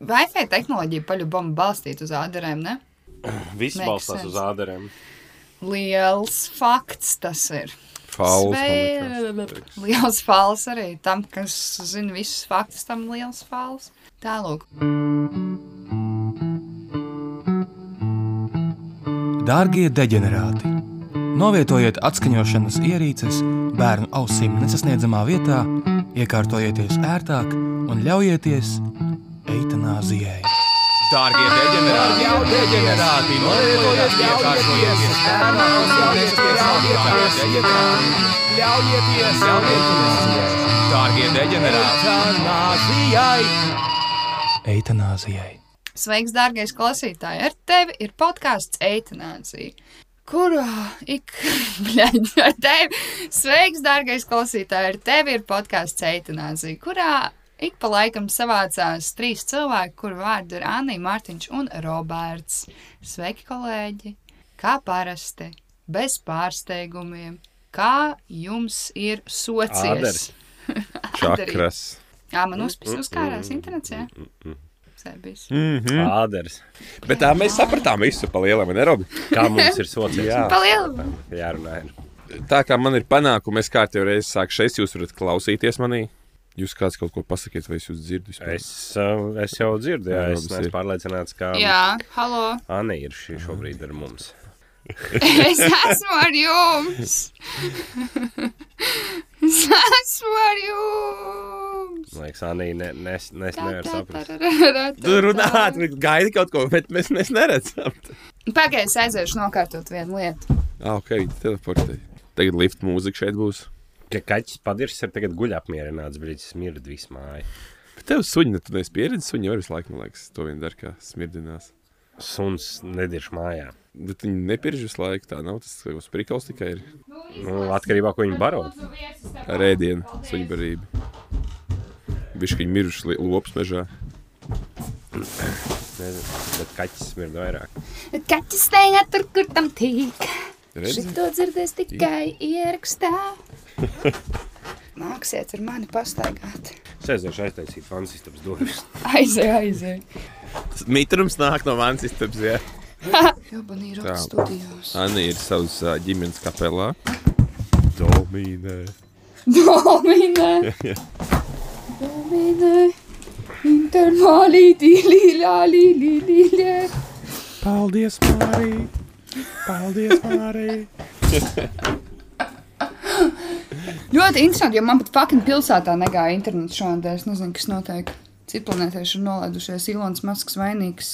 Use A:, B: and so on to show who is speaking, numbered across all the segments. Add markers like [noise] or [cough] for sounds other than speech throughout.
A: Wi-Fi tehnoloģija paļubam balstīt uz ādarēm, ne?
B: Viss
A: Makes
B: balstās
A: sense.
B: uz ādariem.
A: Liels fakts tas ir.
C: Fauls.
A: Sve- Liels fāls arī tam, kas zina visus faktus, tam liels fāls. Tālūk,
D: Dārgie degenerāti, novietojiet atskaņošanas ierīces bērnu ausīm nesasniedzamā vietā, iekārtojieties ērtāk un ļaujieties eitanāzijai.
C: Dārgie degenerāti, jau degenerāti, nolietojies, iekārtojies, ēnās, jauniesties, ļaujieties, ļaujieties, ļaujieties. Dārgie degenerāti, eitanāzijai.
D: Eitanāzijai.
A: sveiks, dārgais klausītāj! Ar tevi ir podkāsts Eitanācija. Kurā ik [laughs] bļaļ, ar tevi? Sveiks, dārgais klausītāj! Ar tevi ir podkāsts Eitanācija, kurā ik pa laikam savācās trīs cilvēki, kuru vārdi ir Anī, Mārtiņš un Roberts. Sveiki, kolēģi! Kā parasti, bez pārsteigumiem, kā jums ir sociālais?
B: Ādars.
A: [laughs]
C: Čakras.
A: Jā, man uzspēs uzkārās internets, jā. Serbijas.
C: Hm?
B: Ādars.
C: Bet tā mēs sapratām visu pa lielam, vai ne, Robi?
B: Kā mums ir sociālais?
C: Jā.
A: Palielu!
B: Jārunā. ir.
C: Tā kā man ir panākumi, es kārtīgi reiz sāku šeit, jūs varat klausīties manī. Jūs kāds kaut ko pasakiet, vai es jūs dzirdu? vispār?
B: Es, uh, es jau dzirdu, jā,
C: Jā,
B: es
C: Robis
B: neesmu
C: ir.
B: pārliecināts, ka
A: Jā,
C: [laughs]
A: halo!
B: Anna ir šī šobrīd ar mums.
A: Es esmu ar jums! [laughs] Es esmu ar jums!
B: Man liekas, Anna ne, nes, nes, nevar saprast.
C: Tu runāt, nu.
A: Runāt!
C: gaidi kaut ko, bet mēs, mēs neredzam.
A: Pagaid, es aiziešu nokārtot vienu lietu.
C: Ah, ok, teleportē. Tagad lift mūzika šeit būs.
B: Ka kaķis padiršs ir tagad guļ apmierināts, brīdis smird visu māju.
C: Bet tev suņi, nu, tu neesi pieredzējis, suņi jau visu laiku, man liekas, to vien dara, kā smirdinās.
B: Suns nedirš mājā.
C: Bet viņi nepirž visu laiku, tā nav tas, kas prikals tikai ir
B: Nu, atkarībā no tā, ko viņi baro.
C: rēdiena suņbarība. Bišķiņi miruši li- lops mežā.
B: Nezinu, bet kaķis smird vairāk.
A: Kaķis steiga tur, kur tam tīk.
C: Redzi?
A: Šito dzirdēs tikai
C: [laughs]
A: ierakstā. Nāksiet ar mani pastaigāt.
B: Sēžot aiztaisīt fansistabas durvis.
A: Aizej, aizej.
C: Mitrums nāk no manas istabas, jā.
A: Jā, banī ir
C: Tā.
A: studijos.
C: Anna ir savas ā, ģimenes kapelā. Domīnē.
A: Domine! Domine! Intermali, dīlīlā, līlīlīlē.
C: Paldies, Mārī! Paldies, Mārī!
A: Ļoti interesanti, jo man pat fucking pilsētā negāja internets šonadēļ. Es nezinu, kas notiek. Citplanētieši ir nolaidušies Ilons Masks vainīgs.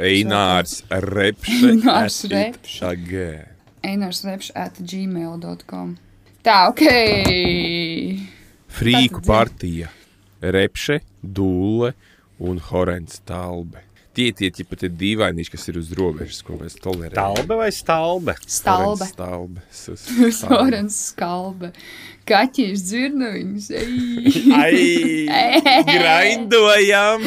C: Einārs Repšs.
A: Einārs Repše.
C: Repšs.
A: Einars Repš at gmail.com. Tā, ok. Tātad
C: Frīku
A: dzird.
C: partija. Repše, Dūle un Horens Talbe. Tie tie tie pat ir dīvainīši, kas ir uz robežas, ko mēs tolerējam.
B: Talbe vai stalbe?
A: [laughs] Stalbe. [laughs]
C: Talbe. Stalbe.
A: Sorens skalbe. Kaķis dzirdu viņus. Ei.
C: Ai! Graindojam!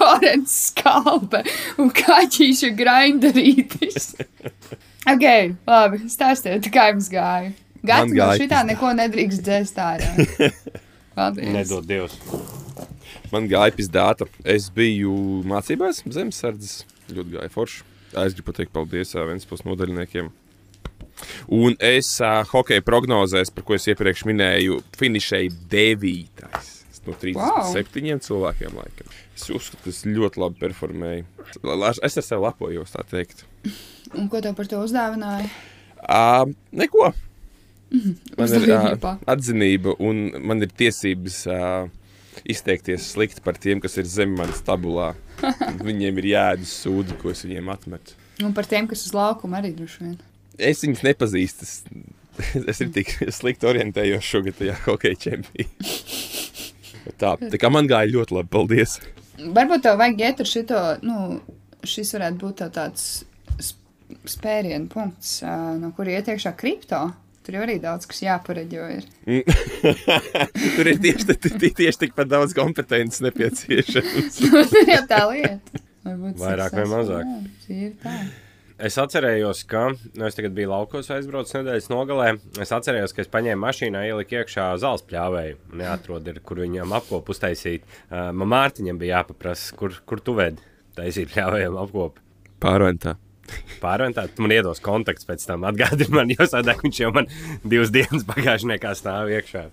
A: Horens skalpe un kaķīša
C: [laughs]
A: grindarītis. Ok, labi, stāstiet, kā jums gāja.
C: Man
A: Gatis, no
C: gāja
A: šitā neko nedrīkst dzēst ārā.
C: [laughs]
A: Paldies.
B: Nedod Dievs.
C: Man gāja pizdāta. Es biju mācībās zemesardzes. Ļoti gāja forši. Es gribu pateikt paldies Vēnspils nodaļniekiem. Un es uh, hokeja prognozēs, par ko es iepriekš minēju, finišēju devītais. Es No 37 wow. cilvēkiem laikam. Es uzskatu, ka es ļoti labi performēju. La- la- Es ar sevi lepojos, tā teikt.
A: Un ko tev par to uzdāvināja?
C: Uh, neko.
B: Mhm.
C: Man ir uh,
A: Uzdevība.
C: atzinība, un man ir tiesības uh, izteikties slikti par tiem, kas ir zem manas
B: [laughs]
C: tabulā. Viņiem ir jādara sūdi, ko es viņiem atmetu.
A: Un par tiem, kas uz laukuma arī droši vien.
C: Es viņus nepazīstu. Es, [laughs] es ir tik slikti orientējos šogad tajā hokeja čempionā. Tā, tā kā man gāja ļoti labi, paldies.
A: Varbūt tev vajag iet ar šito, nu, šis varētu būt tev tāds sp- spērienu punkts, ā, no kur iet iekšā kripto. Tur jau arī daudz kas jāpareģo ir. [laughs]
C: Tur ir tieši, t- t- tieši tikpat daudz kompetences nepieciešams.
A: Tur jau Nu, tā lieta. Varbūt
B: Vairāk
A: seks
B: vai mazāk?
A: Jā, šī ir tā.
B: Es atcerējos, ka nu, es tagad biju laukos aizbraucis nedēļas nogalē. Es atcerējos, ka es paņēmu mašīnā, ieliku iekšā zāles pļāvēju un neatrodu, ir, kur viņam apkopu uztaisīt. Uh, man Mārtiņam bija jāpaprasa, kur, kur tu ved taisīt pļāvējiem apkopu.
C: Pārventā.
B: Pārventāt, man iedos kontakts pēc tam atgādini man, jo sadāk viņš jau man divas dienas pagājušajā kā stāv iekšā.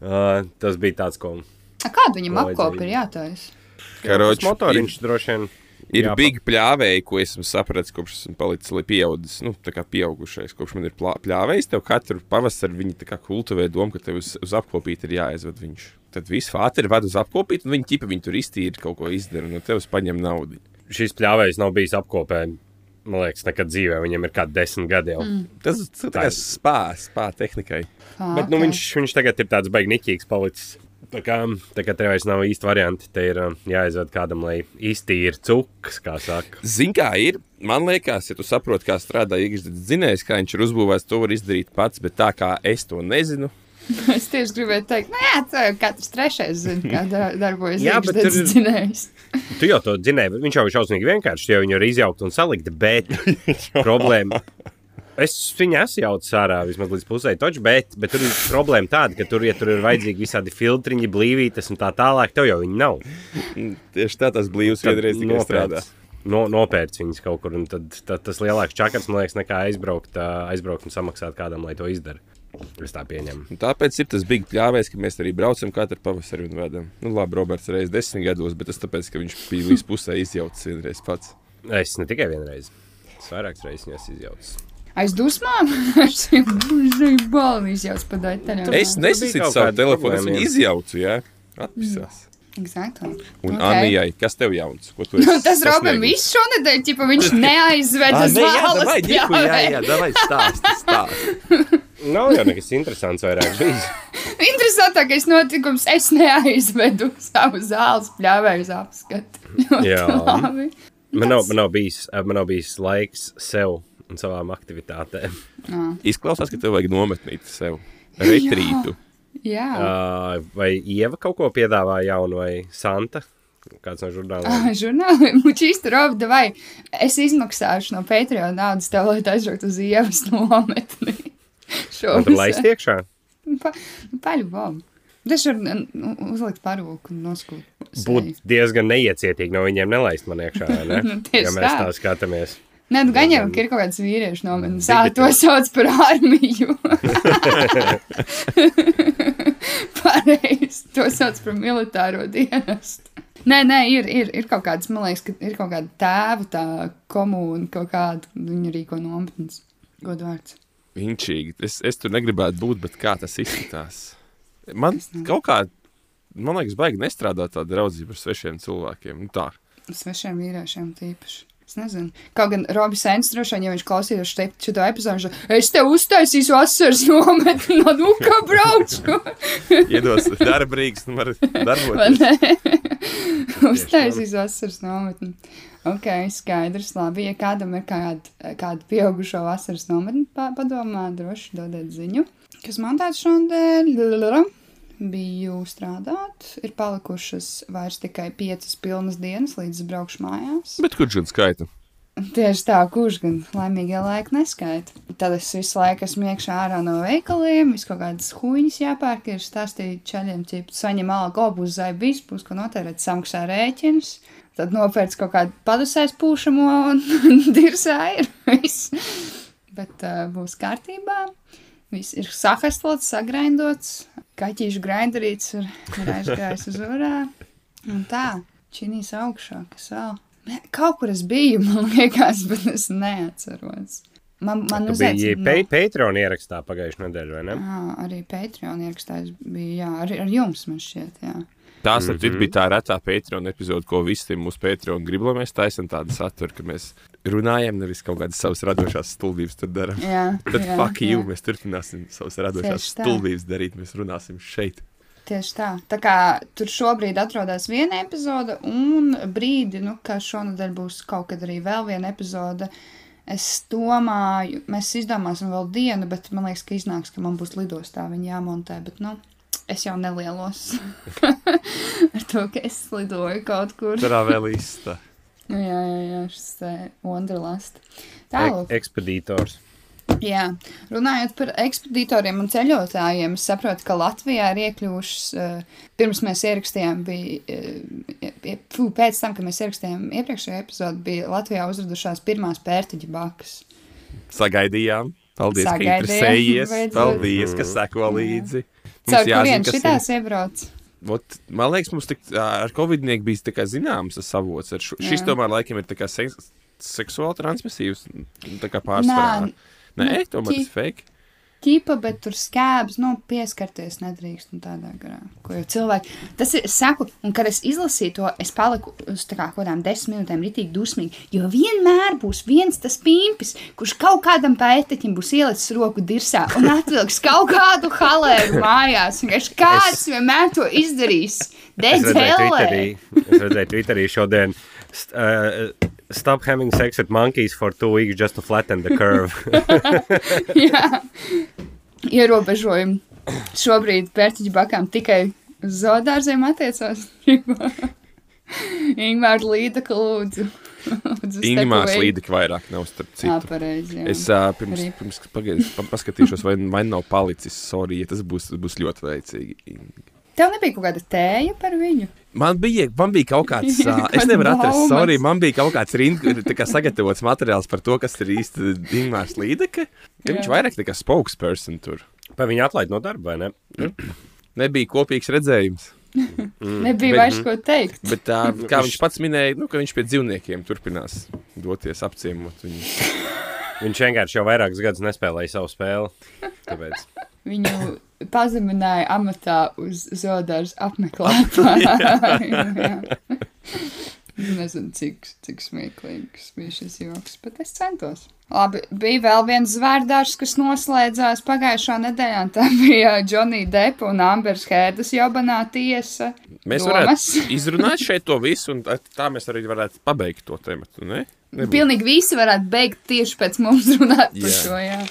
B: Uh, tas bija tāds, ko
A: Kādu viņam
B: Ko
A: apkopi ir
B: vajadzēja?
A: jātais?
C: Karoči,
B: Tas motoriņš droši vien.
C: Ir
B: jāpa-
C: big pļāvēji, ko esmu sapratis, kopš esmu palicis li- pieaudzis. Nu, tā kā pieaugušais, kopš man ir plā- pļāvējs, tev katru pavasaru viņi tā kā kultivē domu, ka tev uz, uz apkopīt ir jāaizved viņš. Tad viss fāteri ved uz apkopīt, un viņi tipa viņu tur iztīra, kaut ko izdara, un no tevis paņem naudu.
B: Šis pļāvējs nav bijis apkopē. Man liekas, nekad dzīvē viņam ir kādi desmit gadi jau. Mm.
C: Tas ir tā kā spā, spā tehnikai.
A: Ā,
B: Bet nu,
A: ok.
B: viņš, viņš tagad ir tāds baigniķīgs palicis. Tā kā, tā kā tev vairs nav īsti varianti, te ir um, jāizved kādam, lai iztīra cukas, kā saka.
C: Zini, kā ir? Man liekas, ja tu saproti, kā strādā īkšķis dzinējs, kā viņš ir uzbūvēts, to var izdarīt pats, bet tā kā es to nezinu,
A: [laughs] Es tieši gribēju teikt, nē, tā katrs trešais zina, kā da- darbojas
B: [laughs] Jā, bet
A: iekšzemes
B: tur ir-
A: dzinējs.
B: Tu jau to zinēji, bet viņš jau ir šausmīgi vienkārši, tu jau viņu ir izjaukt un salikt, bet problēma. Es viņu esmu jaucis ārā vismaz līdz pusē, toču, bet, bet tur ir problēma tāda, ka tur, ja tur ir vajadzīgi visādi filtriņi, blīvītes un tā tālāk, tev jau viņi nav.
C: tieši tā tas blīvs vienreiz tikai strādā.
B: No, nopērts viņas kaut kur, un tad, tad tas lielāks čakars, man liekas, nekā aizbraukt, ā, aizbraukt un samaksāt kādam, lai to izdara. Es tā pieņemu.
C: Un tāpēc ir tas big pļāvējs, ka mēs arī braucam katru pavasari un vedam. Nu, labi, Roberts ir reizes desmit gados, bet tas tāpēc, ka viņš bija līdz pusē izjaucis vienreiz pats.
B: Es ne tikai vienreiz, es vairākas reizes viņas izjaucu.
A: Aiz dusmām [laughs] viņš ir balnījis jau pa daļai.
C: Es
B: tur bija
C: nesasitu
B: kaut
C: savu
B: kāda
C: telefonu, es
B: problēma,
C: viņu
B: jā.
C: izjaucu, jā. Atpisās.
A: Exactly.
C: Un
A: Mhm. Ok.
C: okay. Anijai, kas tev jauns? Ko
A: [laughs]
C: tu
A: Nu,
C: esi Ah,
A: tas Robam
C: sasniegusi?
A: viss šonadēļ, tipā
B: [laughs]
A: viņš neaizveda uz zāles. pļāvē.
C: davai, stāst, stāst.
B: Nav jau nekas interesants vairāk bijis.
A: Interesantākais notikums, es neaizvedu savu zāles pļāvēju uz apskatu. [laughs] Ļoti
B: Jā.
A: labi.
B: Man nav, man, nav bijis, man nav bijis laiks sev un savām aktivitātēm.
C: Izklausās, ka tev vajag nometnīt sev retrītu.
A: Jā.
B: Uh, vai Ieva kaut ko piedāvā jaunu, vai Santa? Kāds no žurnāliem?
A: [laughs] Ah, Žurnāli, mūžīgi, Robi, oh, vai es izmaksāšu no Patreon naudas tev, lai tā aizbrauktu uz ievas nometni. [laughs] Šo
B: Un tur laist iekšā?
A: Pa, paļuvam. Tas ir nu, uzlikt parūku un noskūt. seju.
B: Būtu diezgan neiecietīgi no viņiem nelaist man iekšā, vai ne?
A: Nu, [laughs] tieši
B: ja mēs
A: tā.
B: tā skatāmies.
A: Nē, nu gan jau ka ir kaut kāds vīriešu nometnes. Tā
B: Digitāli.
A: to sauc par armiju. Pareizi. To sauc par militāro dienestu. Nē, nē, ir, ir, ir kaut kāds, man liekas, ka ir kaut kāda tēva tā komūna, kaut kāda viņa rīko nometnes. Godvārds.
C: Inčīgi. Es, es tur negribētu būt, bet kā tas izskatās? Man kaut kā, man liekas, baigi nestrādāt tāda draudzība ar svešiem cilvēkiem. Nu, tā.
A: Svešiem vīriešiem tīpaši. Es nezinu. Kaut gan Robis Sēns droši vien, ja viņš klausītos te- šo to epizodu, viņš teica, es tev uztaisīšu asaras nometni, [laughs] no nu kā braucu.
C: Iedos darba brīdis, nu, var
A: Vai
C: darboties.
A: ne? Uztaisīs vasaras nometni. Ok, skaidrs. Labi, ja kādam ir kāda, kāda pieaugušo vasaras nometni pa- padomā, droši dodiet ziņu. Kas man tāds šodien Lulululu. biju strādāt, ir palikušas vairs tikai piecas pilnas dienas, līdz es braukšu mājās.
C: Bet kurš gan skaita?
A: Tieši tā, kurš gan laimīgie laiki neskaita. Tad es visu laiku esmu iekšā ārā no veikaliem, visu kaut kādas huņas jāpērk, ir stāstīt čaļiem, ja saņem algu obus zai vispus, ko notērēt samaksā rēķinus. Tad nopērts kaut kādu padusēs pūšamo un [laughs] dirzā ir viss. Bet uh, būs kārtībā. Viss ir sakastots, sagrindots, kaķīšu grindarīts ir ir aizgājis uz urā. Un Nu tā, činīs augšā, kas vēl. Nē, Kaut kur es biju, [laughs] man liekas, bet es neatceros. Man, man nu
B: Tu biji
A: uzaicina-
B: Pe- Patreon ierakstā pagājušajā nedēļā, vai ne?
A: Jā, arī Patreon ierakstājis bija, jā, arī ar jums man šķiet, jā.
C: Tās mm -hmm. bija tā retā Patreon epizode, ko visi mūsu Patreon grib, lai mēs taisām tādu saturu, ka mēs runājam, nevis kaut kādas savas radošās stulbības tur darām.
A: Jā,
C: Tad
A: jā,
C: fuck
A: jā.
C: you, mēs turpināsim savas radošās
A: Tieši tā.
C: stulbības darīt, mēs runāsim
A: [laughs]
C: šeit.
A: Tieši tā. Tā kā tur šobrīd atrodas viena epizode, un brīdi, nu, ka šonadēļ būs kaut kad arī vēl viena epizode. Es domāju, mēs izdomāsim vēl dienu, bet man liekas, ka iznāks, ka man būs lidostā viņa jāmontē. Bet, nu, es jau nelielos [laughs] ar to, ka es lidoju kaut kur.
C: Tā vēl īsta.
A: Nu, jā, jā, jā, šis eh, Wonderlust. Tālāk.
B: E ekspedītors.
A: Jā, runājot par ekspeditoriem un ceļotājiem, es saprotu, ka Latvijā ir iekļuvušas, uh, pirms mēs ierakstījām, bija, uh, ie- fū, pēc tam, kad mēs ierakstījām iepriekšējo epizodu, bija Latvijā uzradušās pirmās pērtiķa bakas.
C: Sagaidījām. Paldies, ka
A: Sagaidījām,
C: interesējies.
A: beidzot.
C: Paldies, ka seko līdzi. Mums
A: Caur
C: jāzina,
A: kurien
C: kas ir-
A: šitās iebrauc?
C: Vot, man liekas, mums tik, ā, ar Covid-19 bija tā kā zināms tas avots. Ar šo, šis
A: Jā.
C: tomēr laikam ir tā kā seks, seksuāli transmisīvs. Tā kā pārspērts. Nē,
A: nu,
C: tomēr
A: ki-
C: tas fake.
A: Ķipa, bet tur skābs, nu, pieskarties nedrīkst. un Tādā garā, ko jau cilvēki. Tas ir, es saku, un kad es izlasīju to, es paliku uz tā kā kaut kādām desmit minūtēm ritīgi dusmīgi. Jo vienmēr būs viens tas pīmpis, kurš kaut kādam pētiķim būs ielicis roku dirsā un atvilks kaut kādu halēru mājās. Vienkārši Kāds es... vienmēr to izdarīs?
B: Es
A: Dedz
B: redzēju,
A: helē!
B: Twitterī, es redzēju Twitterī šodien. St uh, stop having sex with monkeys for two weeks just to flatten the curve.
A: [laughs] Jā. Ierobežojumi šobrīd pērtiķu bakām tikai uz zoodārziem attiecās. [laughs] Ingūna līnija, ka lūdzu. lūdzu
C: Ingūns līdekļi vairāk nav starp
A: Jā,
C: citu.
A: pareizi.
C: Es uh, pirms,
A: Rip.
C: pirms pagaidīšu, pa, paskatīšos, vai, vai nav palicis. Sorry, ja tas būs, būs ļoti veicīgi.
A: Tev nebija kaut kāda tēja par viņu.
C: Man bija, man bija kaut kāds,
A: [laughs]
C: uh, es
A: Kāds
C: nevaru atrast,
A: baumas.
C: sorry, man bija kaut kāds rind, tā kā sagatavots materiāls par to, kas ir īsti Ingūns līdekļi.
A: Jā.
C: Viņš vairāk tā kā spokesperson tur.
B: Vai viņi atlaid no darba, vai ne?
C: Nebija kopīgs redzējums.
A: Mm, nebija
C: bet-
A: bet, vairs ko teikt.
C: Bet,
A: [laughs]
C: tā, kā viņš pats minēja, nu, ka viņš pie dzīvniekiem turpinās doties apciemot viņu.
B: Viņš vienkārši jau vairākus gadus nespēlēja savu spēli. Tāpēc.
A: Viņu pazemināja amatā uz zoodārza
C: [laughs]
A: apmeklētāju. [laughs] Jā. Nezinu, cik, cik smieklīgs bija šis joks, bet es centos. Labi, bija vēl viens zvērdārs, kas noslēdzās pagājušā nedēļā. un Tā bija Džonija Depa un Ambers Hērdas jobanā tiesa.
C: Mēs
A: Domas?
C: varētu izrunāt šeit to visu, un tā- tā mēs arī varētu pabeigt to tematu. Ne? Nebūtu.
A: Pilnīgi visi varētu beigt tieši pēc mums runāt par
C: Jā.
A: šo. Jā.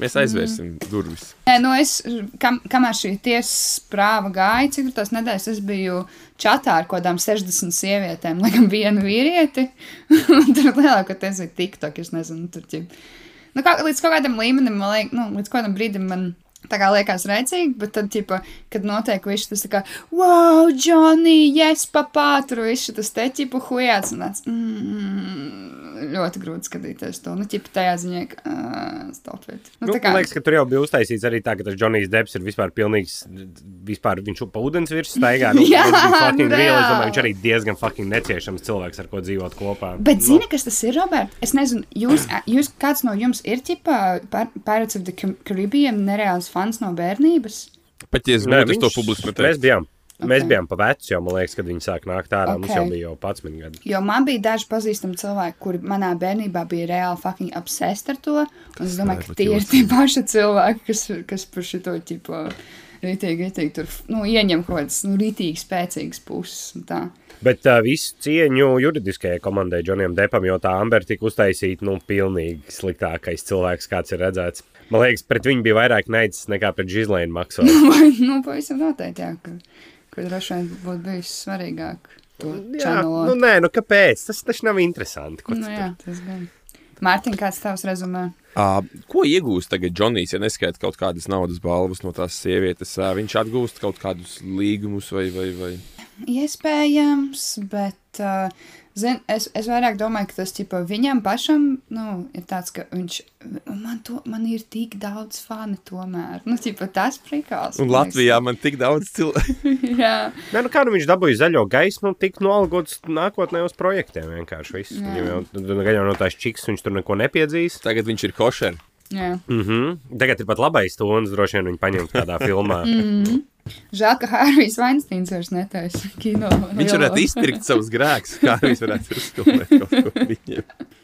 C: Mēs aizvērsim durvis.
A: Nē, nu es, kam, kamēr šī tiesas prāva gāja, cik tur tās nedēļas, es biju čatā ar kaut kādām 60 sievietēm, [laughs] laikam vienu vīrieti. Un tur lielākoties bija TikTok, es nezinu, tur ķip. Nu, kā, līdz kaut kādam līmenim, man liekas, nu, līdz kaut kādam brīdim man tā kā liekas rēcīgi, bet tad, ķipa, kad notiek viss tas tā kā, wow, Johnny, yes, papā, tur viss tas te, ķipa, hujāts, un tāds, mm, ļoti grūti skatīties to, nu, ķipa, tajā ziņā, ka, uh, stop it.
B: Nu, man liekas, ka tur jau bija uztaisīts arī tā, ka tas Džonijs Deps ir vispār pilnīgs. Vispār viņš jau pa ūdens virsmu staigā.
A: [laughs]
B: Nu,
A: Jā,
B: viņš bija fucking
A: nu,
B: real. Es
A: reāli.
B: domāju, viņš arī diezgan fucking neciešams cilvēks, ar ko dzīvot kopā. Nu.
A: Bet zini, kas tas ir, Robert? Es nezinu,
B: [clears throat]
A: jūs, jūs kāds no jums ir tipā Pirates of the Ca- Caribbean nereāls fans no bērnības?
C: Pat ja es
B: Nē, Nu,
C: būtu
B: viņš-
C: to publiski
B: Mēs
C: pateicis.
B: bijām. Mēs
A: Ok.
B: bijām pa vecu, jau man liekas, kad viņi sāk nākt ārā. Mums
A: Ok.
B: jau bija jau 11 gadi.
A: Jo man bija daži pazīstami cilvēki, kuri manā bērnībā bija reāli fucking obsessed ar to. Un es domāju, ka
C: nevar
A: tie ir
C: jūs.
A: tie paši cilvēki, kas, kas par šito tipo rītīgi, rītīgi tur nu, ieņem kaut kādas nu, rītīgi spēcīgas puses. un tā. [laughs]
B: Bet uh, visu cieņu juridiskajai komandai Džonijam Depam, jo tā Amber tika uztaisīta, nu, pilnīgi sliktākais cilvēks, kāds ir redzēts. Man liekas, pret viņu bija vairāk neicis nekā pret Gislēnu Maksu.
A: [laughs] nu, pavisam noteikti, jā, ka, ka droši vien būtu bijis svarīgāk to
B: Jā,
A: čanelot.
B: nu, nē, nu kāpēc? Tas taču nav interesanti. Ko
A: Nu,
B: tu
A: jā, tas gan. Mārtiņ, kāds tavs rezumē?
C: Uh, ko iegūst tagad Džonijs, ja neskaita kaut kādas naudas balvas no tās sievietes? Uh, viņš atgūst kaut kādus līgumus vai, vai, vai.
A: Iespējams, bet uh, zin, es, es vairāk domāju, ka tas tipo, viņam pašam nu, ir tāds, ka viņš man, to, man ir tik daudz fani tomēr. Nu, tipo, tas prikals.
C: Un Latvijā man tik daudz cilvēku.
A: [laughs] Jā,
B: Nē, nu kā nu viņš dabūja zaļo gaismu, tik nolgots nākotnē uz projektiem vienkārši. viss. Viņam jau, nu, gan jau no tās čiks viņš tur neko nepiedzīs.
C: [laughs] Tagad viņš ir košer.
A: jā.
B: Mm -hmm. Tagad ir pat labais tonis, droši vien viņu paņemt kādā filmā.
A: Žēl, ka Hārvijs Vainsteins vairs netaisa kino.
C: Viņš varētu izpirkt savus grēkus. Kā viņš varētu izpildīt kaut ko viņiem?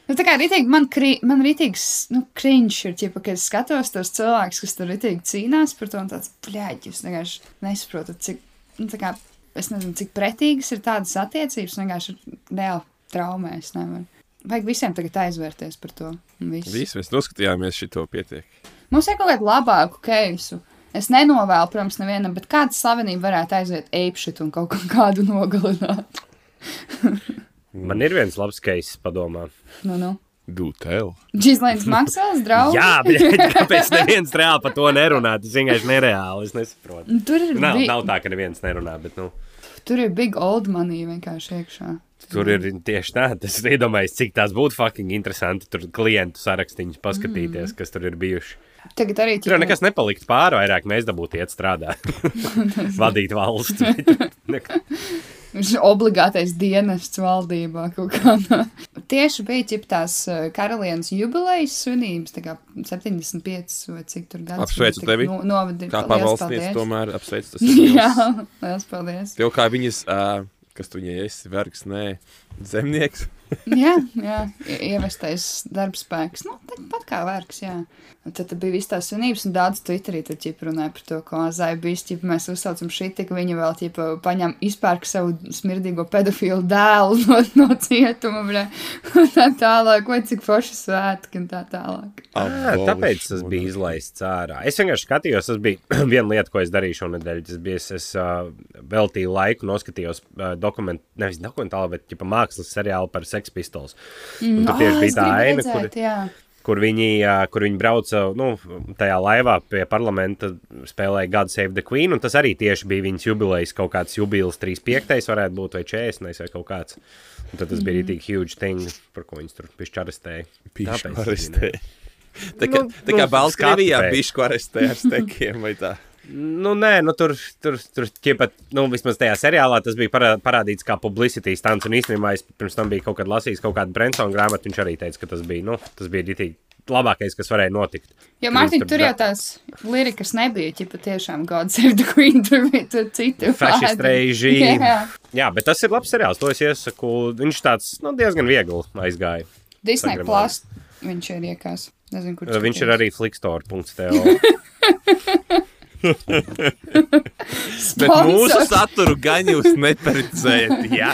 A: Nu, tā kā rītīgi, man, krī, man rītīgs, nu, krinčs ir, ķipa, kad es skatos tos cilvēkus, kas tur rītīgi cīnās par to, un tāds, bļēģi, jūs vienkārši nesaprotat, cik, nu, tā kā, es nezinu, cik pretīgas ir tādas attiecības, un vienkārši ir reāli traumēs, nevar. Vajag visiem tagad aizvērties par to. un Viss. Viss.
C: Visu mēs noskatījāmies, šī to pietiek.
A: Mums ir kaut kāda labāka keisu. Es nenovēlu, protams, nevienam, bet kāda slavenība varētu aiziet apšit un kaut kādu [laughs] nogalināt.
B: Man ir viens labs case padomā.
A: Nu, nu.
C: Dūtēl.
A: Džizlīns maksās, draugs.
B: Jā, bet [laughs] kāpēc neviens reāli par to nerunā? Tas vienkārši nereāli. Es nesaprotu.
A: Nu, Tur ir,
B: Nav,
A: bi-
B: nav tā, ka neviens nerunā, bet nu,
A: tur ir big old money vienkārši iekšā.
B: tur ir tieši tā. [laughs] Es iedomājos, cik tās būtu fucking interesanti. Tur klientu sarakstīņus paskatīties, kas tur ir bijuši.
A: Tagad arī
B: Tur jau nekas nepalikt pāri, vairāk mēs dabūtu iet strādāt, vadīt valsts. Nekā-
A: Viņš ir [laughs] obligātais dienests valdībā kaut [laughs] kādā. Tieši bija ķip tās eh, karalienes jubilejas svinības, tā kā 75 vai cik tur gadus.
C: Apsveicu
A: Tagad
C: tevi.
A: No, novadīt.
C: Kā pavalstnieks, tomēr apsveicu [laughs] tas.
A: [laughs] Jā,
C: Jā.
A: liels paldies.
C: Tev kā viņas, ā, kas tu viņai esi, vergs, nē, zemnieks.
A: Jā, jā, i- ievestais darbspēks. Nu, tāpat kā vērks, jā. Un tad bija viss tās svinības, un daudz Twitterī tad ķip runāja par to, ko Azai bija, ķip mēs uzsaucam šī, tik viņa vēl ķip paņem izpērk savu smirdīgo pedofilu dēlu [laughs] no, no cietuma, bļa. Un tā tālāk, vai cik forši svētki un tā tālāk.
B: Ā, Ah, Tāpēc tas bija izlaists ārā. Es vienkārši skatījos, tas bija [clears throat] viena lieta, ko es darīju šonadēļ. Tas bija es, es uh, veltīju laiku, noskatījos uh, dokumentu, nevis dokumentālu, bet ģipa, mākslas seriālu par Sex Pistols. Mm. Tur
A: Ah,
B: tieši bija tā aina, kur,
A: kur...
B: kur viņi, ā, kur viņi brauca nu, tajā laivā pie parlamenta, spēlēja God Save the Queen. un Tas arī tieši bija viņas jubilejas, kaut kāds jubilejas 35. varētu būt, vai 40. vai kaut kāds. Un tad tas bija arī tik huge thing, par ko viņas tur pišķarastēja.
C: Pīšu
B: Tāpēc es zinu.
C: arestē. Tā
A: Nu,
C: kā, tā kā Baltkrievijā
B: skatu pēc.
C: pīšu arestē ar stekiem vai
A: [laughs]
C: tā.
B: Nu, nē, nu, tur, tur, tur ķipat, nu, vismaz tajā seriālā tas bija parā- parādīts kā publicity stunts. Un īstenībā es pirms tam biju kaut kad lasījis kaut kādu Brensona grāmatu. Viņš arī teica, ka tas bija, nu, tas bija ritīgi labākais, kas varēja notikt.
A: Jo,
B: Ka
A: Mārtiņ,
B: viņš
A: tur jau tās lirikas nebija, ķipa tiešām God Save the Queen, tur bija tur citi.
B: Fašist
A: vārdi.
B: režīm.
A: [laughs] Jā.
B: Jā, bet tas ir labs seriāls. To es iesaku. Viņš tāds nu, diezgan viegli aizgāja.
A: Disney
B: Instagramā.
A: Plus. Viņš ir iekās. Nezinu, kur
B: Eh, Viņš ir
A: skaties.
B: arī flikstore.tv.
C: Bet mūsu
A: Sponsors.
C: saturu gan jūs neprecējat,
A: [laughs]
C: jā.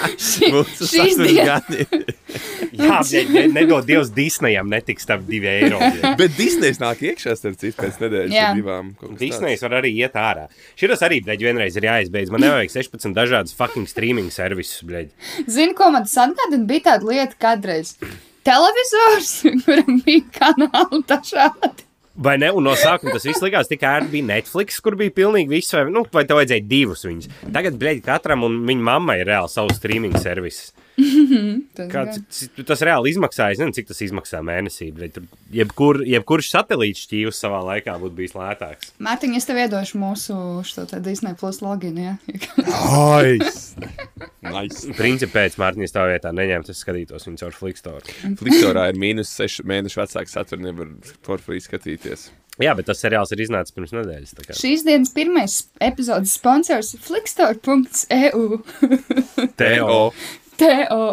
C: Mūsu
A: šīs
C: saturu
A: dienas-
C: gan.
A: [laughs]
B: Jā, bet ne- nedod Dievs, Disneyam netiks tam divi eiro.
C: Bet Disney's nāk iekšā, starp citu, pēc nedēļas
A: Jā.
C: vai divām. kaut kas tāds.
B: Disneja var arī iet ārā. Šis arī, bļaigi, vienreiz ir jāizbeidz. Man nevajag 16 dažādas fucking streaming servisus, bļaigi.
A: Zini, ko man tas atgādina? Bija tāda lieta kādreiz. Televizors, [laughs] kuram bija kanāli dažādi.
B: Vai ne? Un no sākuma tas viss likās, tik ērti bija Netflix, kur bija pilnīgi viss, vai, nu, vai tev vajadzēja divus viņus. Tagad, bļaigi, katram un viņa mammai ir reāli savs streaming servis.
A: Tas
B: Kā,
A: gan.
B: cik, tas reāli izmaksā, es nezinu, cik tas izmaksā mēnesī. Bet tur jebkur, jebkurš satelīts šķīvis savā laikā būtu bijis lētāks.
A: Mārtiņ, es tev iedošu mūsu šo te Disney Plus loginu, ja?
C: Nice!
B: [laughs]
C: Nice!
B: Principā pēc Mārtiņas tā vietā neņēma, tas skatītos viņu caur Flikstoru.
C: Fliktorā ir mīnus 6 mēnešu vecāks, satura nevar for free skatīties.
B: Jā, bet tas seriāls ir iznācis pirms nedēļas. tā kā.
A: [laughs] Šīs dienas pirmais epizodes sponsors E ir flikstore.eu. [laughs]
B: Teo.
C: Teo.
A: Teo.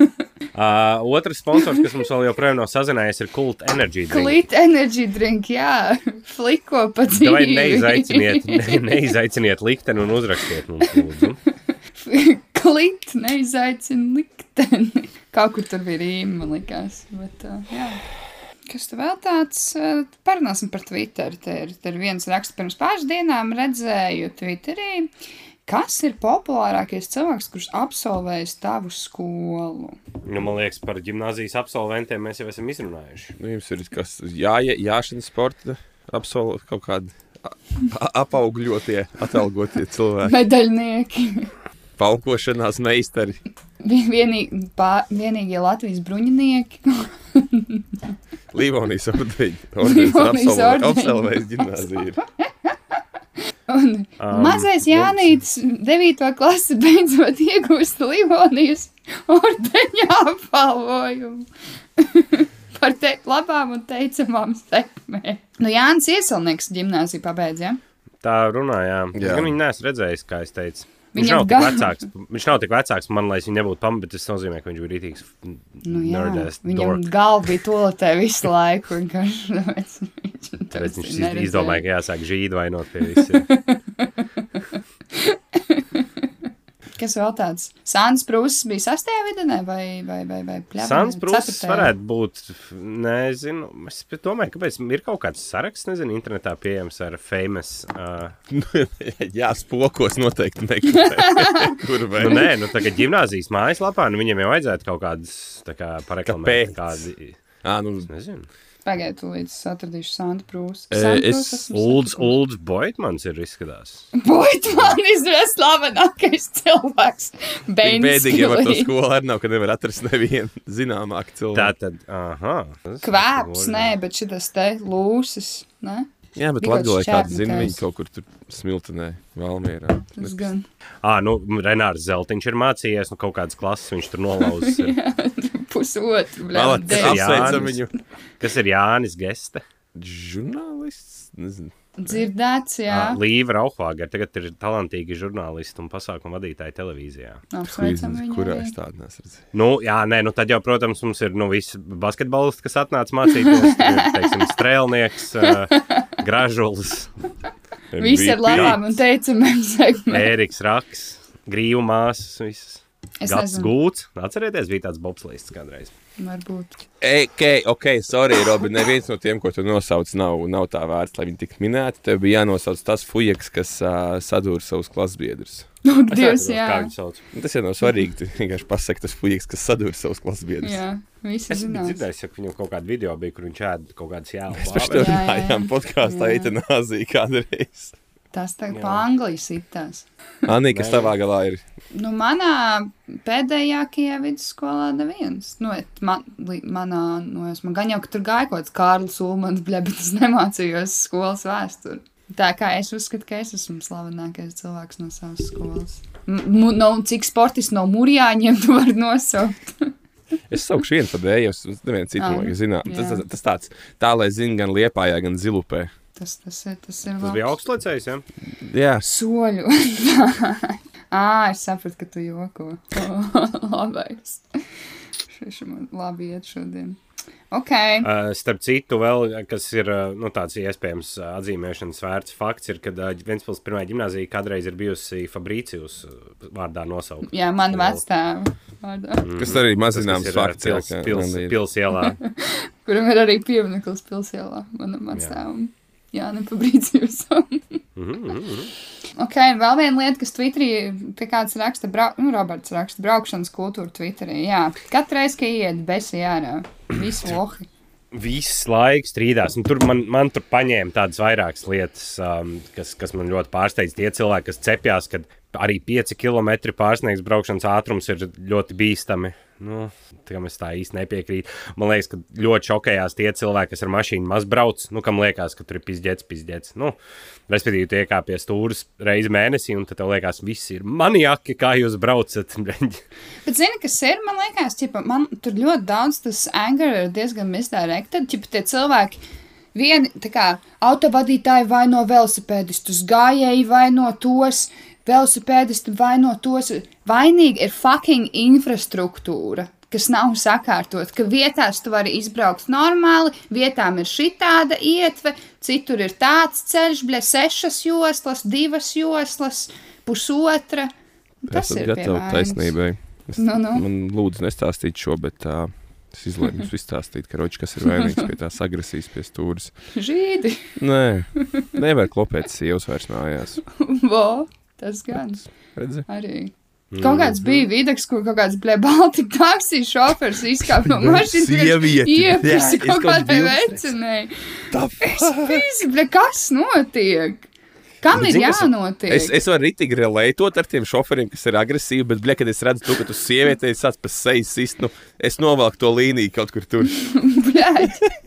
B: Uh, otrs sponsors, kas mums vēl joprojām nav sazinājies, ir Kult Energy. Drink.
A: Klīt energy drink, jā. Fliko pa
B: Vai
A: dzīvi.
B: neizaiciniet, ne, neizaiciniet likteni un uzrakstiet mums, lūdzu.
A: [laughs] Klīt, neizaicina likteni. Kaut kur tur bija rīma, man likās. Bet, uh, jā. Kas tur vēl tāds? uh, Parunāsim par Twitter. Te ir, te ir viens raksts pirms pāris dienām, redzēju Twitterī. Kas ir populārākais cilvēks, kurš absolvējis tavu skolu?
B: Nu, man liekas, par gimnāzijas absolventiem mēs jau esam izrunājuši.
C: Nu, jums ir kas jā, jāšana sporta, absolūti kaut kādi a- a- apaugļotie, atalgotie cilvēki.
A: Medaļnieki. [laughs]
C: Paukošanās meistari.
A: Vi- Vienīgi, pā, vienīgie Latvijas bruņinieki.
C: Līvonijas
A: [laughs] Livonijas
C: ordeņš.
A: ordeņa.
C: Absolvējas gimnāzija.
A: [laughs]
C: ir.
A: Un um, mazais Jānis, 9. klase, beidzot iegūst Livonijas ordeņa apbalvojumu. [laughs] Par te labām un teicamām sekmēm. Nu, Jānis Ieselnieks gimnāzija pabeidz, ja?
B: Tā runājām.
C: Jā.
B: Jā. Gan viņu neesmu redzējis, kā es teicu. Viņš
A: Viņam
B: nav, tik
A: gan-
B: vecāks, viņš nav tik vecāks, man liekas, viņš nebūtu pamatā, bet tas nozīmē, ka viņš bija rītīgs.
A: Nu, jā,
B: nerdēs
A: viņam
B: dork.
A: galva bija tolatē visu laiku. vienkārši, tāpēc viņš
B: [laughs] Tāpēc
A: tāpēc
B: viņš iz-
A: neredzēja.
B: izdomāja, ka jāsāk žīd vainot pie visiem.
A: Kas vēl tāds? Sāns Prūss bija sastajā vidienē vai, vai, vai, vai pļāvā?
B: Sāns Prūsis
A: Ceturtajā?
B: varētu būt, nezinu, es pat domāju, kāpēc ir kaut kāds saraksts, nezinu, internetā pieejams ar famous. Uh,
C: Jā, spokos noteikti nekad.
A: [laughs]
C: Kur vai
B: nu, nē, nu, tā kā gimnāzijas mājaslapā, nu, viņiem jau vajadzētu kaut kādas, tā kā, pareklamēt
C: Kāpēc?
B: kādi.
C: Ā, nu,
B: Nezinu.
A: Pagaidiet, līdz es atradīšu Sandu Prūsu.
C: E,
A: Sandu
C: es
A: Prūsu esmu
B: Ulds,
A: satikusi.
B: Ulds Boitmans ir izskatās.
A: Boitmanis ir slavenākais cilvēks.
C: tik bēdīgi jau ar to
A: Beidzīgi.
C: skolu arī nav, ka nevar atrast nevienu zināmāku
B: Tā
C: cilvēku.
B: tad, aha. Tas
A: Kvēps,
B: ir
A: nē, bet šitas te lūsis, ne?
C: Jā, bet
A: Bija kaut
C: Latvijā
A: kāds
C: kāds zina,
A: čērnekājs.
C: viņi kaut kur tur smiltenē, vēlmierā.
A: Tas gan.
B: Ā, nu, Renārs Zeltiņš ir mācījies no nu, kaut kādas klases, viņš tur nolauzis.
A: Pusotru,
C: Vēlāk,
A: bļaut,
B: dēļ.
C: apsveicam
B: Jānis.
C: viņu.
B: Kas ir Jānis Geste?
C: Žurnālists? Nezinu.
A: Dzirdēts, jā.
C: Ah,
B: Ā, Ah, Līva Rauhvāga tagad ir talantīgi žurnālisti un pasākumu vadītāji televīzijā.
A: Apsveicam
C: Nezinu,
A: viņu.
C: Kurā
A: arī.
C: es tādu nesu redzējis?
B: Nu, jā, nē, nu tad jau, protams, mums ir nu, visi basketbolisti, kas atnāca mācīties. Tur ir, Teiksim, strēlnieks, uh, gražulis,
A: Visi ir labām un teicamiem segmentiem.
B: Ēriks Raks, grīvumās, visas.
A: Es
B: Gads
A: nezinu.
B: gūts. Atcerieties, bija tāds bobslīds kādreiz.
A: Varbūt.
C: Ok, ok, sorry, Robi. Neviens no tiem, ko tu nosauc, nav, nav tā vērts, lai viņi tiktu minēti. Tev bija jānosauc tas fujaks, kas uh, sadūrīja savus klasbiedrus.
A: Nu, Dievs,
B: Es neatceros, Kā
A: jā.
B: viņu sauc?
C: Nu, Tas jau nav svarīgi. Tu vienkārši pasaki, tas fujaks, kas sadūrīja savus klasbiedrus.
A: Jā, visi
B: Es biju
A: zinās.
B: dzirdējis, ka viņam kaut kāda video bija, kur viņš ēda kaut kādas
C: Mēs par
A: Jā,
C: to
B: jēlas.
A: jā, jā.
C: runājām podkāstā,
A: Jā.
C: eitanāzija
B: [laughs]
C: kādreiz.
A: Tas tagad
B: Jā.
A: pa Anglijas itās.
C: Anī, kas
B: Nē.
C: tavā galā ir?
A: Nu, manā pēdējā Kijā vidusskolā neviens. Nu, et, man, li, manā, nu, es man gan jau, ka tur gāja kaut kāds Kārlis Ulmans, bļa, bet es nemācījos skolas vēsturi. Tā kā es uzskatu, ka es esmu slavenākais cilvēks no savas skolas. M mu- no, cik sportists no murjāņiem tu vari nosaukt?
C: Es saukšu vienu par dēļu, jo neviens citu
A: Ah,
C: man zinām. Tas,
A: jā.
C: tas, tas tāds, tā lai zinātu gan liepājā, gan zilupē.
A: Tas, tas ir, tas ir
B: Tas
A: labs.
B: bija augstlēcējs, jā? Ja?
C: Jā,
A: Soļu. [laughs] Ā, es sapratu, ka tu joko. [laughs] Labais. Šis man labi iet šodien. Ok.
B: Uh, starp citu, vēl, kas ir uh, nu, tāds iespējams uh, atzīmēšanas vērts fakts, ir, ka uh, Ventspils pirmā gimnāzija kādreiz ir bijusi Fabricius uh, vārdā nosaukta.
A: Jā, man
B: Skola.
A: vectēva vārdā,
B: Mm.
C: tas arī
B: Tas,
C: maz
B: kas
C: zināms
B: ir, uh,
C: fakts. jā,
B: Pils,
C: kā
B: pils,
C: man ir.
B: pils ielā.
A: kuram ir arī piemineklis pilsēlā. Manam vectēvam. Jā, nepabrīdzījums.
B: Mhm, mhm, mhm.
A: ok, un vēl viena lieta, kas Twitterī pie kāds raksta, brau... nu, Roberts raksta, braukšanas kultūra Twitterī. Jā, katru reizi, kad iet besi ārā, visu lohi.
B: Viss laiks strīdās. Un Tur man, man tur paņēma tādas vairākas lietas, um, kas, kas man ļoti pārsteidz. Tie cilvēki, kas cepjas, ka arī 5 km pārsniegs braukšanas ātrums ir ļoti bīstami. Nu, tam es tā īsti nepiekrītu. Man liekas, ka ļoti šokējās tie cilvēki, kas ar mašīnu maz brauc, nu, kam liekas, ka tur ir pizdzēts, pizdzēts. Nu, respektīvi, tie kā pie stūres reizi mēnesī, un tad tev liekas, viss ir maniaki, kā jūs braucat. [laughs]
A: Bet zini, kas ir? Man liekas, ka man tur ļoti daudz tas anger ir diezgan misdirected. Čipa tie cilvēki, vieni tā kā autovadītāji vai no velosipēdistus, gājēji vai no tos, velosipēdisti vai no tos. Vainīga ir fucking infrastruktūra. Kas nav sakārtot, ka vietās tu vari izbraukt normāli, vietām ir šī tāda ietve, citur ir tāds ceļš, blē, sešas joslas, divas joslas, pusotra. Tas
C: esat
A: ir
C: gatavi
A: piemēram.
C: taisnībai. Es,
A: Nu, nu.
C: Man lūdzu, nestāstīt šo, bet uh, es
A: [laughs]
C: izlēmu jums izstāstīt, ka roči, kas ir vainīgs pie tās agresijas, pie stūres.
A: Žīdi, [laughs]
C: Nē, nevar klopēt sievas vairs mājās.
A: Vo, tas gan
C: Redzi?
A: arī.
C: Nu,
A: Kaut kāds bija videks, kur kaut kāds bija Baltiņu taksija šofers izkāpa no
C: [laughs]
A: mašīnas.
C: Sieviete.
A: Iepis
C: Nu, Jā, es
A: kaut
C: kaut
A: kādā
C: bildes
A: vecinē.
C: Tā
A: Visi, ble, kas notiek? Kam
C: Bet
A: ir
C: Nu, zini, kas-
A: jānotiek?
C: Es, es varu rītīgi relētot ar tiem šoferiem, kas ir agresīvi, bet, blē, kad es redzu, to, ka tu sieviete esi sācis pa seju sist, nu, es novelku to līniju kaut kur tur. [laughs]
A: Bļaļ,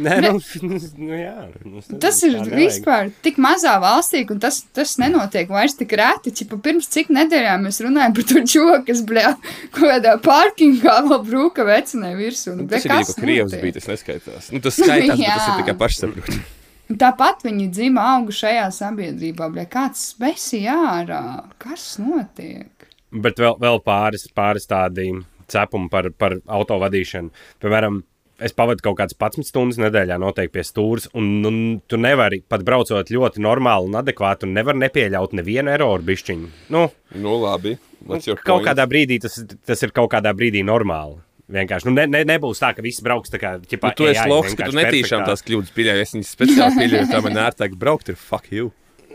B: Nē, nu, nu, jā, nu, es
A: tas ir
B: nezinu, tā nevajag.
A: vispār tik mazā valstī, un tas, tas nenotiek vairs tik rēti. Čipa pirms cik nedēļām mēs runājam par to čoku, kas, bļā, kaut kādā parkingā vēl brūka vecinē virsū. Nu,
C: Nu,
A: ble,
C: tas ir jau
A: kas
C: kā krievs
A: notiek?
C: bija, tas neskaitās. Nu, tas skaitās,
A: [laughs]
C: bet tas
A: Jā.
C: ir tikai pašsaprotami.
A: Nu, Tāpat viņi dzima augu šajā sabiedrībā, bet kāds spēsi ārā? Kas notiek?
B: Bet vēl, vēl pāris, pāris tādi cepumi par, par autovadīšanu. Piemēram, es pavadu kaut kādas 11 stundas nedēļā noteikti pie stūres, un, un tu nevari pat braucot ļoti normāli un adekvāti, un nevar nepieļaut nevienu eroru bišķiņu. Nu,
C: Nu, labi.
B: nu, kaut kādā brīdī tas, tas ir kaut kādā brīdī normāli. Vienkārši nu, ne, ne, nebūs tā, ka viss brauks tā kā ķipā,
C: Nu, tu esi loks, ka tu netīšām tās kļūdas pieļauj. Es viņas speciāli pieļauju, tā man ērtāk braukt ir fuck you.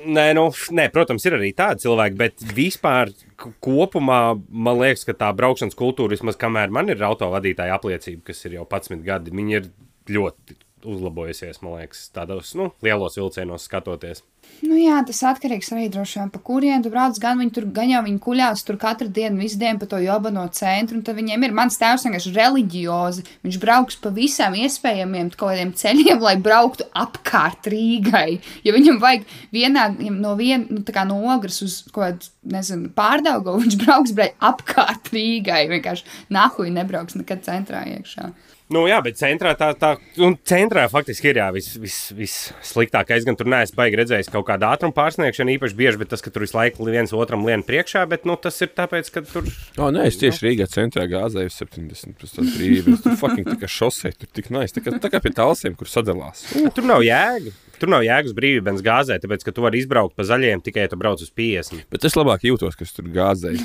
B: Nē, nu, f- nē, protams, ir arī tādi cilvēki, bet vispār k- kopumā man liekas, ka tā braukšanas kultūra, vismaz kamēr man ir autovadītāja apliecība, kas ir jau 11 gadi, viņi ir ļoti uzlabojusies, man liekas, tādos nu, lielos vilcienos skatoties.
A: Nu, jā, tas atkarīgs arī droši vien, pa kurien tu brauc. Gan viņi tur, gan jau viņi kuļās tur katru dienu, visu dienu pa to jobano centru. un Tad viņiem ir mans tēvs vienkārši reliģiozi. Viņš brauks pa visām iespējamiem kaut kādiem ceļiem, lai brauktu apkārt Rīgai. Ja viņam vajag vienā ja no viena, nu, tā kā no ogras uz kaut kādu, nezinu, pārdaugu, viņš brauks braukt apkārt Rīgai. Vienkārši nahuj nebrauks nekad centrā iekšā.
B: Nu, jā, bet centrā tā, tā un centrā faktiski ir jā, vis, vis, vissliktākais. Gan tur neesmu baigi redzējis kaut kādu ātrumu pārsniegšanu īpaši bieži, bet tas, ka tur visu laiku viens otram lien priekšā, bet nu, tas ir tāpēc, ka tur
C: Oh, nē, es tieši Rīgā centrā gāzēju 70. Tas ir brīvi. Tur fucking tā kā šosei, tur tik nais. Tā kā, tā kā pie tālsiem, kur sadalās.
B: Nu, Tur nav jēga. Tur nav jēgas brīvības gāzē, tāpēc ka tu vari izbraukt pa zaļajiem tikai, ja tu brauc uz 50.
C: Bet es labāk jūtos, kas
A: [laughs]
C: tur gāzēju.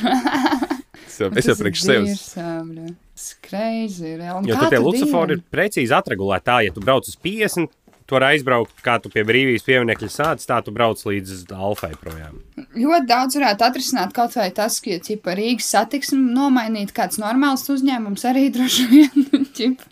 C: Es jau- Es jau priekš sevis.
A: sevis. Skreizi ir.
B: Jo tur tie lucifori ir precīzi atregulēti. Tā, ja tu brauc uz 50, tu vari aizbraukt, kā tu pie brīvības pieminekļa sācis, tā tu brauc līdz alfai projām.
A: Ļoti daudz varētu atrisināt kaut vai tas, ka, ja ķipa, Rīgas satiksmi nomainītu kāds normāls uzņēmums, arī [laughs] droši vien. nu, ķipa,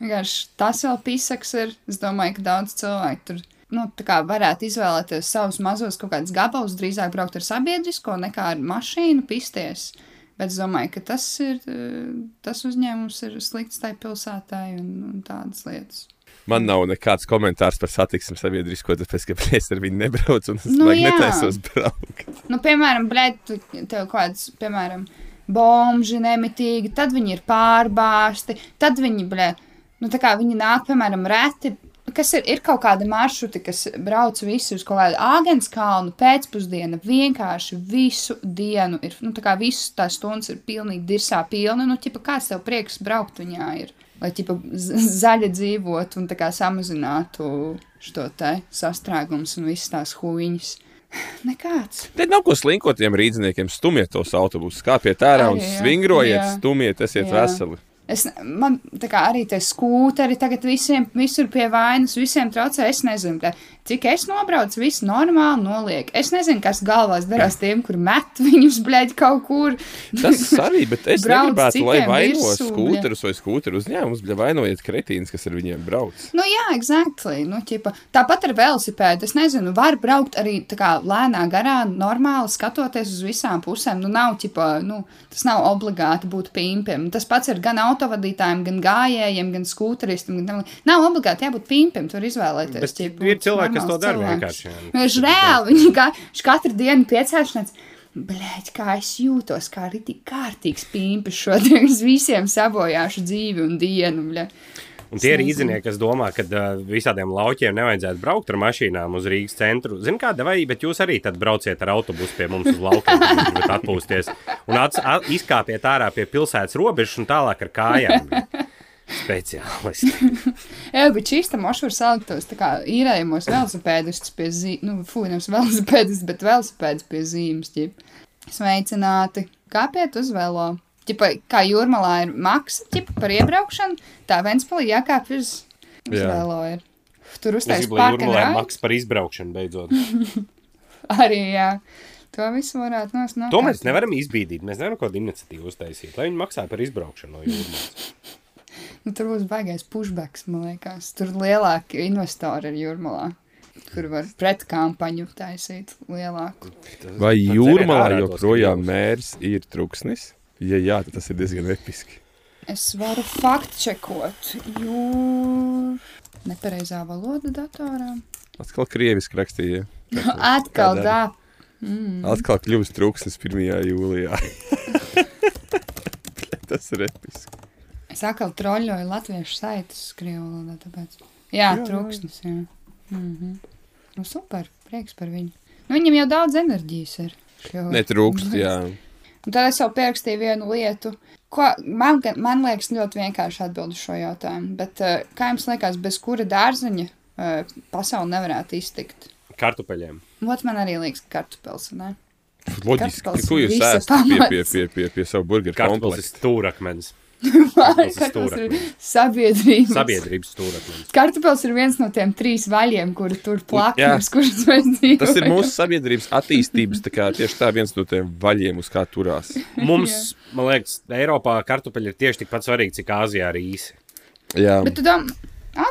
A: vienkārši tas vēl pisaks ir. Es domāju, ka daudz cilvēku tur nu, tā kā varētu izvēlēties savus mazos kaut kādus gabalus, drīzāk braukt ar sabiedrisko nekā ar mašīnu pisties. Bet es domāju, ka tas ir eh, tas uzņēmums, ir slikts tai pilsētai un, un tādas lietas.
C: Man nav nekāds komentārs par satiksmi sabiedrisko, tāpēc, ka es ar viņu nebraucu un es
A: Nu,
C: nu,
A: jā.
C: netaisos braukt.
A: Nu, piemēram, blēdi, tu- tev kaut kāds, piemēram, bomži nemitīgi, tad viņi ir pārbāzti, tad viņi, blēdi, nu, tā kā viņi nāk, piemēram, reti. Kas ir, ir kaut kāda maršruta, kas brauc visu uz kaut kādu āgāns kalnu pēcpusdienu, vienkārši visu dienu. Ir, nu, tā kā visas tās stundas ir pilnīgi dirsā pilna. Nu, ķipa, kāds tev prieks braukt viņā ir? Lai ķipa, z- zaļa dzīvot un tā kā samazinātu šo te sastrēgumus un visas tās huīņas. [sighs] Nekāds.
C: Te nav ko slinkot tiem rīzniekiem. Stumiet tos autobusus, kāpiet ārā un
A: Arī, jā.
C: svingrojiet,
A: Jā.
C: stumiet, esiet
A: Jā.
C: veseli.
A: Es, man tā kā arī tie skūteri tagad visiem, visur pie vainas, visiem traucē. Es nezinu, tā, cik es nobraucu, viss normāli noliek. Es nezinu, kas galvās darās tiem, kur met [laughs] viņus blēģi kaut kur.
C: Tas arī, bet es
A: Brauc
C: gribētu, lai
A: citiem
C: vaino
A: virsū, jā.
C: skūterus vai skūteru uzņēmumus, bet vainojiet kretīnus, kas ar viņiem brauc.
A: Nu, jā, exactly. Nu, ķipa, tāpat ar velosipēdu. Es nezinu, var braukt arī tā kā lēnā garā, normāli skatoties uz visām pusēm. Nu, nav, ķipa, nu, tas nav obligāti būt pimpim. Tas pats ir gan autovadītājiem, gan gājējiem, gan skūteristam. Gan tam lī- nav obligāti jābūt pimpim, tur izvēlēties.
B: Bet
A: ķipa,
B: ir
A: būt
B: cilvēki, kas to
A: normāls
B: dara
A: cilvēks.
B: vienkārši. jā.
A: Nu, Viņš reāli viņi ka, viņš katru dienu piecēlšanās. Blēģi, kā es jūtos, kā arī tik kārtīgs pīmpis šodien. [laughs] Es visiem sabojāšu dzīvi un dienu. Bļa.
B: Un tie ir īznieki, kas domā, ka uh, visādiem laukiem nevajadzētu braukt ar mašīnām uz Rīgas centru. Ziniet, kāda vai, bet jūs arī tad brauciet ar autobusu pie mums uz laukiem, kur varat atpūsties. Un ats, a, izkāpiet ārā pie pilsētas robežas un tālāk ar kājām. Speciālisti.
A: Jā, bet šīs tam mašīnas saliktos tā kā īrējumos velosipēdistus pie zīmes, nu, fūnams velosipēdistus, bet velosipēdus pie zīmes, ķip. Sveicināti! Kāpiet uz velo? Ķipa, kā jūrmalā ir maksa, ķipa par iebraukšanu, tā Ventspēlī jākāp uz, uz
B: Jā.
A: velo ir. Tur
B: Es
A: uztaisīt
B: gribu, lai
A: parka Mhm.
B: Jurmalē
A: grāmatu.
B: maksā par izbraukšanu beidzot.
A: Arī, jā. To visu varētu nosnākt.
B: To mēs nevaram izbīdīt. Mēs nevaram kaut kādu iniciatīvu uztaisīt, lai viņi maksā par izbraukšanu no
A: [laughs]
B: jūras.
A: Nu, tur būs baigais pushbacks, man liekas. Tur lielāki investori ir jūrmalā, kur var pretkampaņu taisīt lielāku.
C: Vai
B: Tad
C: jūrmalā
B: dzeriet ārā tos
C: joprojām
B: krīvus.
C: mērs ir truksnis? Ja jā, tad tas ir diezgan episki.
A: Es varu faktčekot, jo nepareizā valoda datorā. Nu,
C: Atkal krieviski rakstīja.
A: Atkal
C: Kādā?
A: tā. Mm.
C: Atkal kļūst truksnis 1.
A: [laughs]
C: jūlijā. tas ir episki.
A: Es atkal troļļoju latviešu saites uz krievu valodā, tāpēc. Jā,
C: Jā, jā, jā.
A: trūksnis, jā. Mhm. Nu, super, prieks par viņu. Nu, viņam jau daudz enerģijas ir. Šo- Mhm.
C: Netrūkst, jā.
A: Un tad es jau pierakstīju vienu lietu, ko man, gan- man liekas ļoti vienkārši atbild uz šo jautājumu. Bet eh, kā jums liekas, bez kura dārziņa eh, pasaule nevarētu iztikt?
B: Kartupeļiem.
A: Ot, man arī liekas, ka kartupels, ne?
C: Loģiski,
A: Kartupels
C: ko jūs
A: visa
C: ēstat pie,
A: pamats.
C: pie, pie, pie, pie savu burgeru
B: Kartupeļs ir
C: komplektu?
A: [laughs]
B: stūrakmenis. Tas
A: Vārkarpils
B: ir
A: ir [laughs] sabiedrības.
B: Sabiedrības stūrakmenis.
A: Kartupils ir viens no tiem trīs vaļiem, kuri tur
C: Jā.
A: plakāts, [laughs] kurus mēs dzīvojam.
C: Tas ir mūsu sabiedrības attīstības, tā kā tieši tā viens no tiem vaļiem, uz kā turās.
B: Mums, man liekas, Eiropā kartupeļi ir tieši tikpat svarīgi, cik Āzijā arī īsi.
C: Jā,
A: Bet tu domā,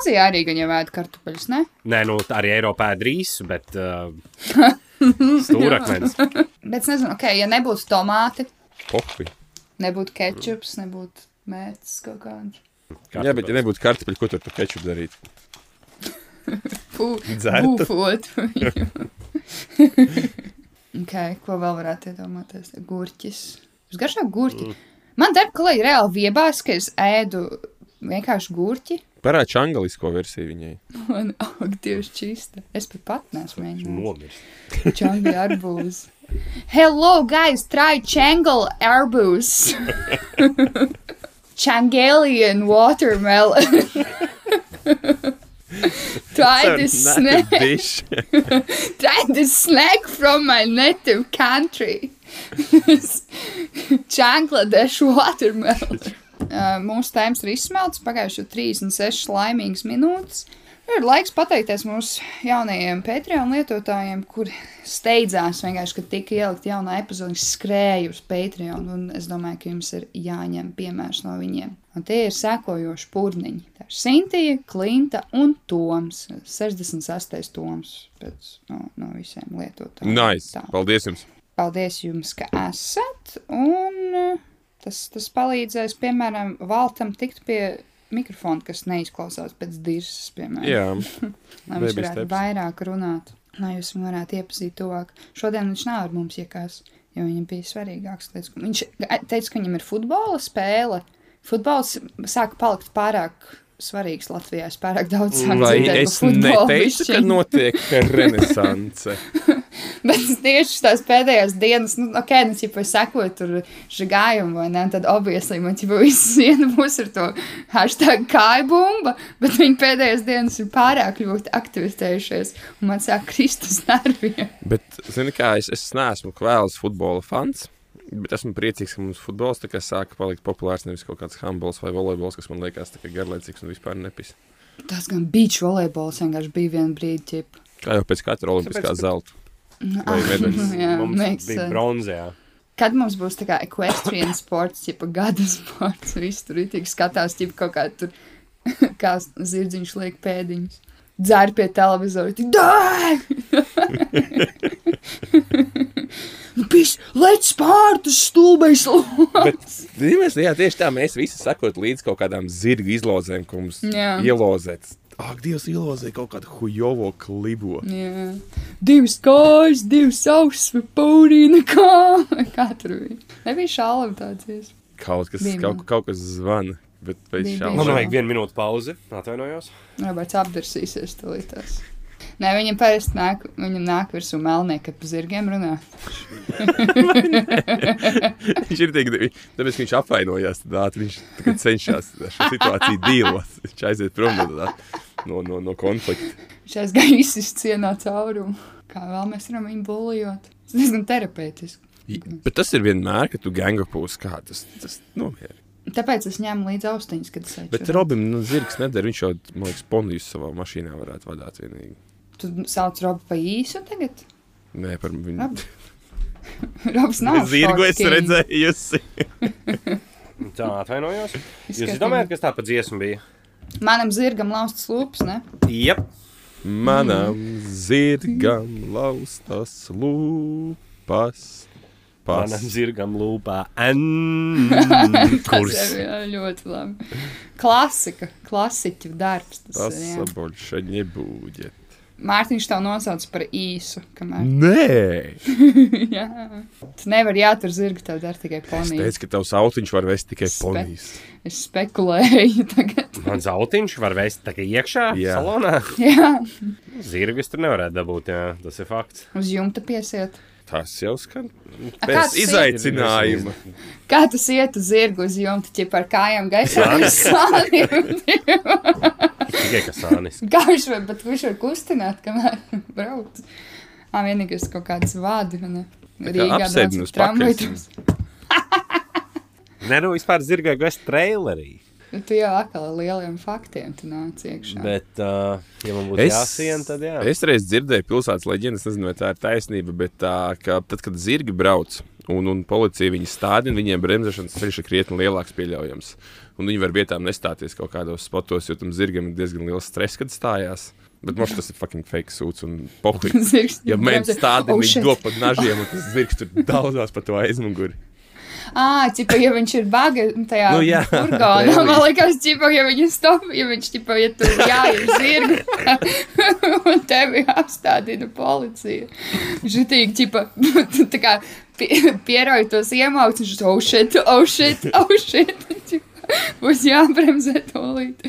A: Azijā arī gan jau ēd kartupeļus, ne?
B: Nē, nu, tā arī Eiropā ir drīz, bet
A: [laughs]
B: uh, stūrakmenis.
A: Bet es nezinu, ok, ja nebūtu tomāti,
C: popi.
A: nebūtu ketčups, nebūtu mētas kaut kāds.
C: Jā, bet ja nebūtu kartupeļu, ko tur tur kečup darīt? Dzertu.
A: Būfot. [laughs] ok, ko vēl varētu iedomāties? Gurķis. Es garšā
C: Mm.
A: gurķi. Man darba kolēģi reāli viebās, ka es ēdu vienkārši gurķi.
C: Parāda čangalisko versiju viņai.
A: [laughs] Man aug tieši oh, čista. Es pat pat nesmu mēģinājis.
B: Nomirst.
A: Čangli arbūs. Hello, guys, try Changle arbūs. Changelian watermelon. try this snack.
C: Diši.
A: Try this snack from my native country. Čangladešu watermelon. [laughs] Uh, mūsu tēmas ir izsmelts, pagājuši jau 36 laimīgas minūtes. Ir laiks pateikties mūsu jaunajiem Patreon lietotājiem, kur steidzās vienkārši, ka tika ielikt jaunā epizode, kas skrēja uz Patreon. Un es domāju, ka jums ir jāņem piemērs no viņiem. Un tie ir sekojoši pūniņi. Tā ir Sintīna, Klimta un Toms. 68. toms pēc, no, no visiem lietotājiem.
C: [laughs] Nice.
A: Tā.
C: Paldies jums.
A: Paldies jums, ka esat. Un uh, tas, tas palīdzēs, piemēram, Valtam tikt pie mikrofona, kas neizklausās pēc dirzas, piemēram.
C: Jā,
A: lai viņš
C: baby
A: varētu
C: steps.
A: vairāk runāt, lai jūs viņu varētu iepazīt tuvāk. Šodien viņš nav ar mums iekās, jo viņam bija svarīgāks lietas. Viņš teica, ka viņam ir futbola spēle. Futbols sāka palikt pārāk svarīgs Latvijā. Es pārāk daudz sāku
C: vai
A: dzirdēt par
C: es
A: futbolu
C: neteicu, ka
A: bišķiņ.
C: notiek renesance?
A: [laughs] Bet es tieši tās pēdējās dienas, nu, ok, nu, ja sekoju tur žigājumu, vai ne, tad obviously man jau viss [laughs] siena būs ar to hashtag kājbumba, bet viņi pēdējās dienas ir pārāk ļoti aktivistējušies, un man sāk kristus nerviem.
C: Bet, zini, kā es, es neesmu kvēls futbola fans. Bet esmu priecīgs, ka mums futbols tā kā sāka palikt populārs. Nevis kaut kāds handbols vai volejbols, kas man liekas tā kā garlaicīgs un vispār nepis.
A: Tas gan beach volejbols vienkārši bija vien brīdi, ķip. Ah,
C: Kā jau pēc katra olimpiskā
B: Tāpēc, ka-
C: zelta. Vai medaļas.
A: [laughs] Jā, makes
B: Mums bija
A: sense.
B: bronzē.
A: Kad mums būs tā kā equestrian sports, jeb gada sports, viss tur ir tik skatās, jeb kaut kā tur, [laughs] kā zirdziņš liek pēdiņus. Dzēr pie televizora, tik [laughs] dārgi! Nu, Leģis pārtas stulbais! [laughs]
C: Bet, [laughs] zinās, nu jā, tieši tā mēs visi sakot līdz kaut kādām zirga izlozēm, ko mums
A: Jā.
C: ielozēt. Ak, Dievs, ielozē kaut kādu hujovo klibo.
A: Jā. Divas kājas, divas ausis, vai paurīna kā. [laughs] Kā tur bija? Nebija šālam tāds. ies.
C: Kaut kas,
A: Bija,
C: kaut, kaut kas zvana. Bet pēc
A: Bija,
C: šāda
A: bija.
B: Man
A: Jā.
B: vajag vienu minūtu pauzi. Atvainojos.
A: Roberts apdursīsies tulītās. Nē, viņam parasti nāk, viņam nāk virsū melnie, kad pa zirgiem runā.
C: viņš ir tik, tāpēc, ka viņš apvainojās, tad ātri viņš tagad cenšas ar šo situāciju dīlot. Viņš aiziet prom no, tā- no, no, no konflikta.
A: Viņš aizgāja izscienā caurumu. Kā vēl mēs varam viņu bulijot? Tas diezgan terapeitiski.
C: Bet tas ir vienmēr, kad tu ganga pūs kā tas, tas nomierina.
A: Tāpēc es ņēmu līdzi austiņas, kad es
C: Bet
A: aizgāju.
C: Robim, nu, zirgs nedara, viņš jau, man liekas, ponijus savā mašīnā varētu vadāt vienīgi.
A: Tu sauc Robu pa īsu tagad?
C: Nē, par viņu.
A: Rob- [laughs] Robs nav.
C: Zirgu
A: sports
C: es
A: king.
C: redzēju, jūs.
B: Tā, atvainojos. Jūs
A: Izskatījums.
B: domājat, kas tā pa dziesmu bija?
A: Manam zirgam laustas lūpas, ne?
B: Jep.
C: Manam
A: Mm.
C: zirgam laustas lūpas. Pas.
B: Manam zirgam lūpā.
A: [laughs]
B: N.
A: Tas
B: Kurs.
A: ir jā, ļoti labi. Klasika, klasiķu darbs. Tas
C: Tas
A: ir, jā.
C: sabolša nebūģe.
A: Mārtiņš tev nosauc par īsu, kamēr.
C: Nē!
A: [laughs] jā. Tu nevari jātur zirgu, tev dar tikai ponija.
C: Teicu, ka tavs autiņš var vest tikai
A: Spe-
C: ponijas.
A: Es spekulēju [laughs] tagad.
B: Man zautiņš var vēst tā kā iekšā
C: Jā.
B: Jā. salonā.
A: Jā,
B: Zirgus tur nevarētu dabūt, jā, tas ir fakts.
A: uz jumta piesiet.
C: Tas jau skan
A: kāds
C: pēc
A: ir?
C: izaicinājuma.
A: Kā tas iet uz zirgu uz jumta, ja par kājām gaisā [laughs] ir [laughs] slānis?
B: Tikai kas sānis.
A: Gauž vai, bet viņš var kustināt, kamēr [laughs] brauc. Ā, vienīgais kaut kāds vādi, vai ne?
C: kā apsēdinus pakaļ.
A: tramvajos.
B: Nē, nu vispār zirga gaisa trailerī.
A: Nu, tu jau atkal ar lieliem faktiem tu nāc iekšā.
B: Bet, uh, ja man būs
C: Es-
B: jāsien, tad jā.
C: Es reiz dzirdēju pilsētas leģendas, nezinu, vai tā ir taisnība, bet tā, ka tad, kad zirgi brauc un, un policija viņus stādina, viņiem bremzēšanas ceļš ir krietni lielāks pieļaujams. Un viņi var vietām nestāties kaut kādos spotos, jo tam zirgam ir diezgan liels stress, kad stājās. Bet mums tas ir fucking fake sūds un pohuļs.
A: [laughs] Zirgs
C: Ja mēs
A: bremzē.
C: stādām
A: Oh,
C: viņu
A: shit.
C: dop pa nažiem, un tas zirgs tur [laughs] daudzās pa to aizmuguri.
A: Ah, tipa, ja viņš ir baga tajā
B: Nu, jā. [laughs]
A: furgonā, man liekas, tipa, ja viņš stop, ja viņš tipa, ja tur jāir zirgu, [laughs] un tevi apstādina policija. Žitīgi, tipa, tu [laughs] tā kā pie- pierauj tos iemauts, un šis, oh shit, oh shit, oh shit, [laughs] tipa, būs jābremzē tolīt.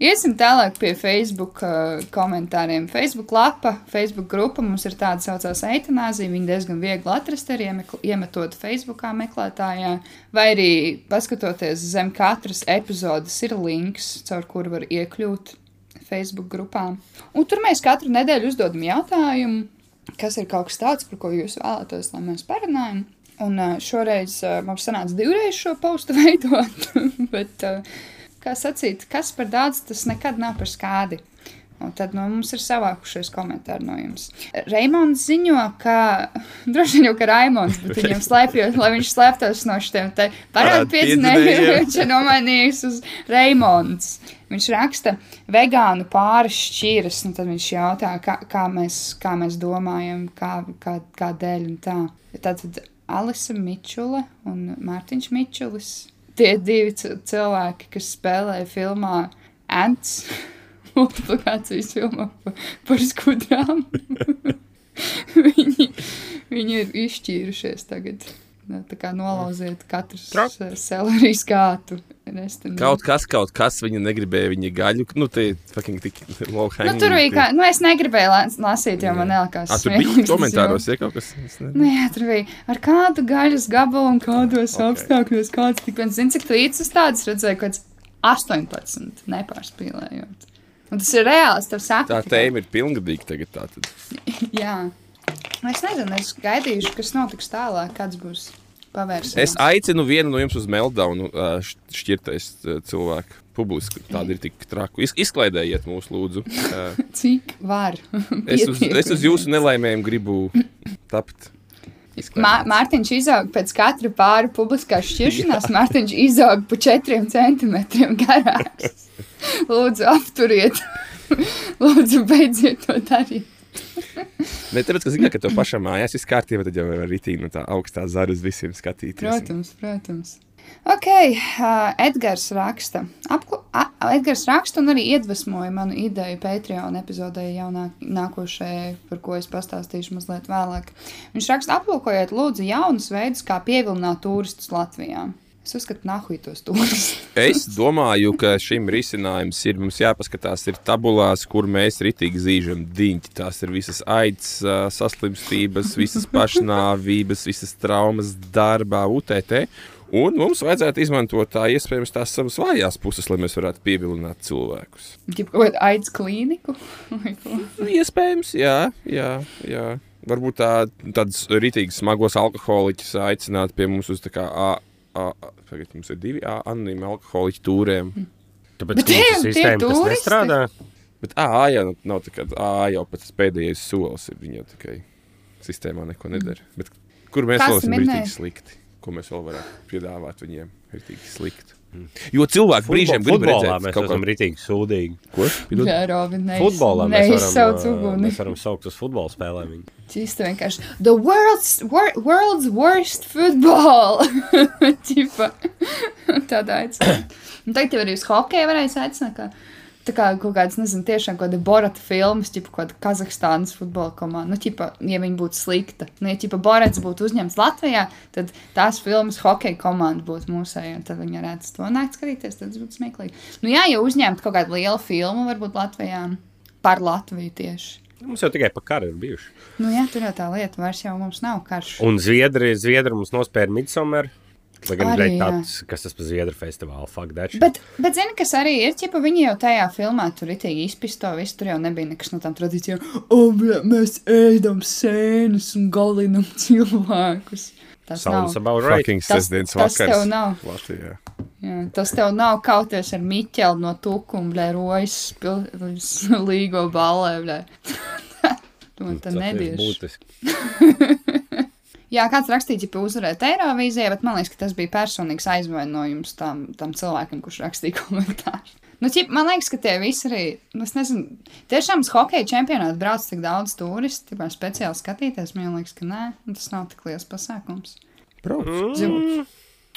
A: Iesim tālāk pie Facebook uh, komentāriem. Facebook lapa, Facebook grupa mums ir tāda saucās eitanāzija. Viņa diezgan viegli atrast arī iemekl- iemetot Facebookā meklētājā. Vai arī paskatoties zem katras epizodes ir links, caur kuru var iekļūt Facebook grupā. Un tur mēs katru nedēļu uzdodam jautājumu, kas ir kaut kas tāds, par ko jūs vēlētos, lai mēs parunājam. Un uh, šoreiz uh, mums sanāca divreiz šo postu [laughs] veidot, bet uh, kā sacīt, kas par daudz, tas nekad nav par skādi. Un tad nu, mums ir savākušies komentāri no jums. Raimons ziņo, ka [laughs] droši vien jau ka Raimons, bet
C: [laughs]
A: viņam slēpjot, lai viņš slēptos no šiem te
C: Parādu
A: parādpiedzinējiem,
C: piedzinējiem.
A: viņš ir nomainījis uz Raimons. Viņš raksta, vegānu pāris šķiras, un tad viņš jautā, kā, kā, mēs, kā mēs domājam, kā, kā, kādēļ un tā. Tātad Alisa Mičula un Mārtiņš Mičulis. Tie divi cil- cilvēki, kas spēlēja filmā Ants multiplikācijas filmā pa- par skudrām. [laughs] viņi, viņi ir izšķīrušies tagad. Nu, Tā kā nolauziet katru selerijas kātu. Restam.
C: Kaut kas, kaut kas, viņa negribēja viņa gaļu. Nu, tie fucking tik low
A: Nu,
C: hanging.
A: tur bija kā, nu, es negribēju las- lasīt, jo man nelikās.
C: Ah, tur bija
A: smieklīgs tas
C: komentāros, ja kaut kas. es nezinu.
A: Nu, jā, tur bija ar kādu gaļas gabalu un kādos okay. apstākļos. Kāds tik viens zina, cik līdzīgs tāds redzēja, ka 18 nepārspīlējot. Un tas ir reāls, tev saka.
C: Tā tēma ir pilngadīga tagad. Tātad.
A: Jā. Nu, Es nezinu, es gaidīšu, kas notiks tālāk, kāds būs pavērsies.
C: Es aicinu vienu no jums uz meltdownu, ā, št- šķirtais ā, cilvēku. Publiski tāda ir tik traku. Iz, izklaidējiet mūs, lūdzu. Ā,
A: Cik var?
C: Es uz,
A: Pietiek.
C: es uz jūsu nelaimēm gribu tapt.
A: Mā- Mārtiņš izauga pēc katra pāri publiskās šķiršanās. Mārtiņš izauga pa četriem centimetriem
C: [laughs]
A: garāks. Lūdzu, apturiet! Lūdzu, beidziet to darīt!
C: Ne tāpēc, ka zini, ka tev pašam mājās viss kārtībā, tad jau var ritīnu tā augstā zara uz visiem skatīties.
A: Protams, protams. Ok, uh, Edgars raksta. Apklu, a, Edgars raksta un arī iedvesmoja manu ideju Patreon epizodē, jau nā- nākošajai, par ko es pastāstīšu mazliet vēlāk. Viņš raksta, aplūkojiet, lūdzu, jaunus veidus, kā pievilināt turistus Latvijā. Es uzskatu, nahuj tos turistus.
C: Es domāju, ka šim risinājums ir mums jāpaskatās, ir tabulās, kur mēs ritīgi zīžam diņķi. Tās ir visas aids, ā, saslimstības, visas pašnāvības, visas traumas darbā, UTT. Un mums vajadzētu izmantot tā iespējams tās savas vājās puses, lai mēs varētu pievilināt cilvēkus.
A: Gribu kaut kādu aids klīniku. vai ko?
C: Nu, Iespējams, jā, jā. jā. Varbūt tā, tāds rītīgs smagos alkoholiķis aicināt pie mums uz tā kā. A, a, a, tagad mums ir divi ā, anonīmi alkoholiķi tūriem.
B: Tāpēc
A: Bet
B: ka mums
A: tie-
B: ir
A: tie
B: sistēma, kas
A: turisti.
B: nestrādā.
C: Bet ā, jā, nu, nav tā, ka ā, jau pats pēdējais solis ir viņa tikai sistēmā neko nedara. Bet kur mēs
A: Mm. Kas
C: vēl esam
A: minēja?
C: rītīgi slikti? Ko mēs vēl varētu piedāvāt viņiem? Rītīgi slikti. Jo cilvēki brīžiem
B: Mm.
C: grib
B: Futbolā
C: redzēt,
B: mēs esam rītīgi sūdīgi.
C: rītīgi.
A: Jā, Robin, neizs-
B: Futbolā mēs
A: neizsauc
B: varam, uh,
A: uguni.
B: mēs varam saukt uz futbola spēlēm. viņu.
A: Šis te vienkārši. The world's, wor world's worst football! [laughs] Tipa. Tādā aicinājumā. Un tagad jau arī uz hokeju varēs aicināt. Kā, tā kā kaut kāds, nezinu, tiešām kaut kāda Borata filmas, tipa kaut kāda Kazahstānas futbola komanda. Nu, tipa, ja viņi būtu slikta. Nu, ja tipa Borats būtu uzņemts Latvijā, tad tās filmas hokeja komanda būtu mūsēja. Un tad viņi varētu uz to nākt skatīties. Tad tas būtu smieklīgi. Nu, jā, ja uzņemtu kaut kādu lielu filmu, varbūt Latvijā. Par Latviju tieši.
B: Nu, Mums jau tikai par karu ir bijuši.
A: Nu, jā, tur jau tā lieta, vairs jau mums nav karš.
B: Un Zviedri, Zviedri mums nospēra Midsomer. Lai gan
A: Arī,
B: bija
A: jā.
B: tāds, kas tas par Zviedru festivālu faktu.
A: Bet, bet zini, kas arī ir, ja viņi jau tajā filmā tur itīgi izpisto, visu tur jau nebija nekas no tām tradīcijām. O, bļa, mēs ēdam sēnes un galinam cilvēkus. Tas
B: Sounds
A: nav.
B: about right.
C: Fucking
A: Tas-
C: sestdienas
A: tas tev
C: vakars.
A: nav.
C: Latvijā.
A: Jā, tas tev nav kauties ar Miķeli no Tūkumbļa, Rojas spil- līgo balē. bļē. [laughs] Tu man te
B: Tas ir
A: nedieši.
B: būtiski.
A: Jā, kāds rakstīja, ka uzvarēt Eirovīzijā, bet man liekas, ka tas bija personīgs aizvainojums tam, tam cilvēkam, kurš rakstīja [laughs] komentāru. Nu, ķip, man liekas, ka tie visi arī, nu, es nezinu, tiešām uz hokeja čempionātu brauc tik daudz turistu, tipā speciāli skatīties, man liekas, ka nē, nu, tas nav tik liels pasākums.
C: Brauc.
A: Zinu.
B: Mm,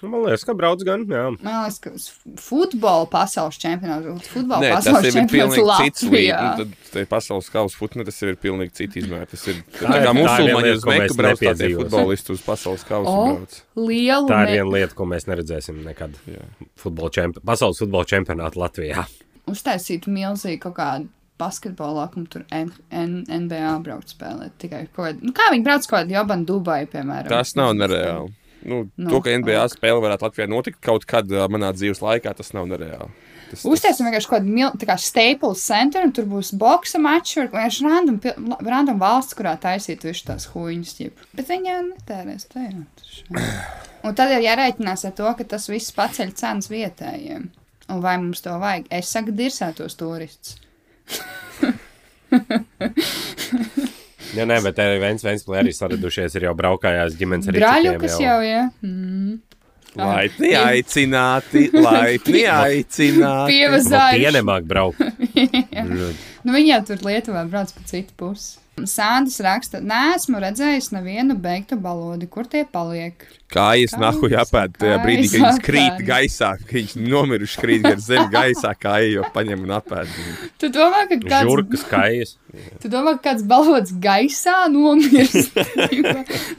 B: Man liekas, ka brauc gan. Jā.
A: Man liekas, ka uz futbola pasaules čempionāts, uz futbola
C: Nē,
A: Nē,
C: tas jau
A: pasaules
C: ir
A: čempionāts
C: pilnīgi cits līmenis.
A: Latvijā.
C: Tad te pasaules kausa futbolā tas jau ir pilnīgi cits izmērs. Tas ir tā,
B: ir- tā
C: tā kā
B: ir viena
C: musulmaņi
B: lieta,
C: uz
B: ko mēs
C: Meku brauc, tā tie
B: nepiedzīvosim.
C: futbolisti uz pasaules kausa
A: O,
C: brauc.
A: Lielu
B: Tā ir
A: ne-
B: viena lieta, ko mēs neredzēsim nekad.
C: Jā.
B: Futbola čemp... Pasaules futbola čempionāta Latvijā.
A: uztaisīt milzīgi kaut kādu basketbolu laukumu, tur N N NBA braukt spēlēt. Tikai kaut kādu, nu kā viņi brauc kaut kādu jobanu Dubaju, piemēram.
C: Tas nav nereāli. Nu,
A: Nu,
C: to, ka NBA spēle varētu Latvijā notikt kaut kad ā, manā dzīves laikā, tas nav nereāli. Tas, tas...
A: Uztaisim vienkārši kaut kādu tādu staples centru, un tur būs boxe mačs, un vienkārši random, pil- la- random valsts, kurā taisīt visu tās huīņas. jeb. Bet viņi jau netērēs tajā. taču. Un tad ir jārēķinās ar to, ka tas viss paceļ cenas vietējiem. Un vai mums to vajag? Es saku, dirsētos turistus.
B: Jā, nē, bet arī viens, viens plēri arī saradušies, ir jau braukājās ģimenes arī.
A: Brāļukas jau, jā. Mm.
C: Laipni aicināti,
A: [laughs]
C: laipni aicināti.
B: Tie
A: Pievazājuši.
B: nemāk
A: [laughs]
B: braukt.
A: Nu, viņa jau tur Lietuvā brauc pa citu pusi. Sandis raksta, neesmu redzējis nevienu beigtu balodi, kur tie paliek. Kājas,
C: Kājas nahu jāpēta tajā brīdī, kad
A: kājas
C: viņš krīt
A: apēd.
C: gaisā, kad viņš nomiruši krīt gar zemi gaisā, kā jau paņem un apēda.
A: Tu domā, ka kāds, Žurka.
B: Žurkas, kājas.
A: tu domā, ka kāds balots gaisā
C: [laughs]
A: nomirst,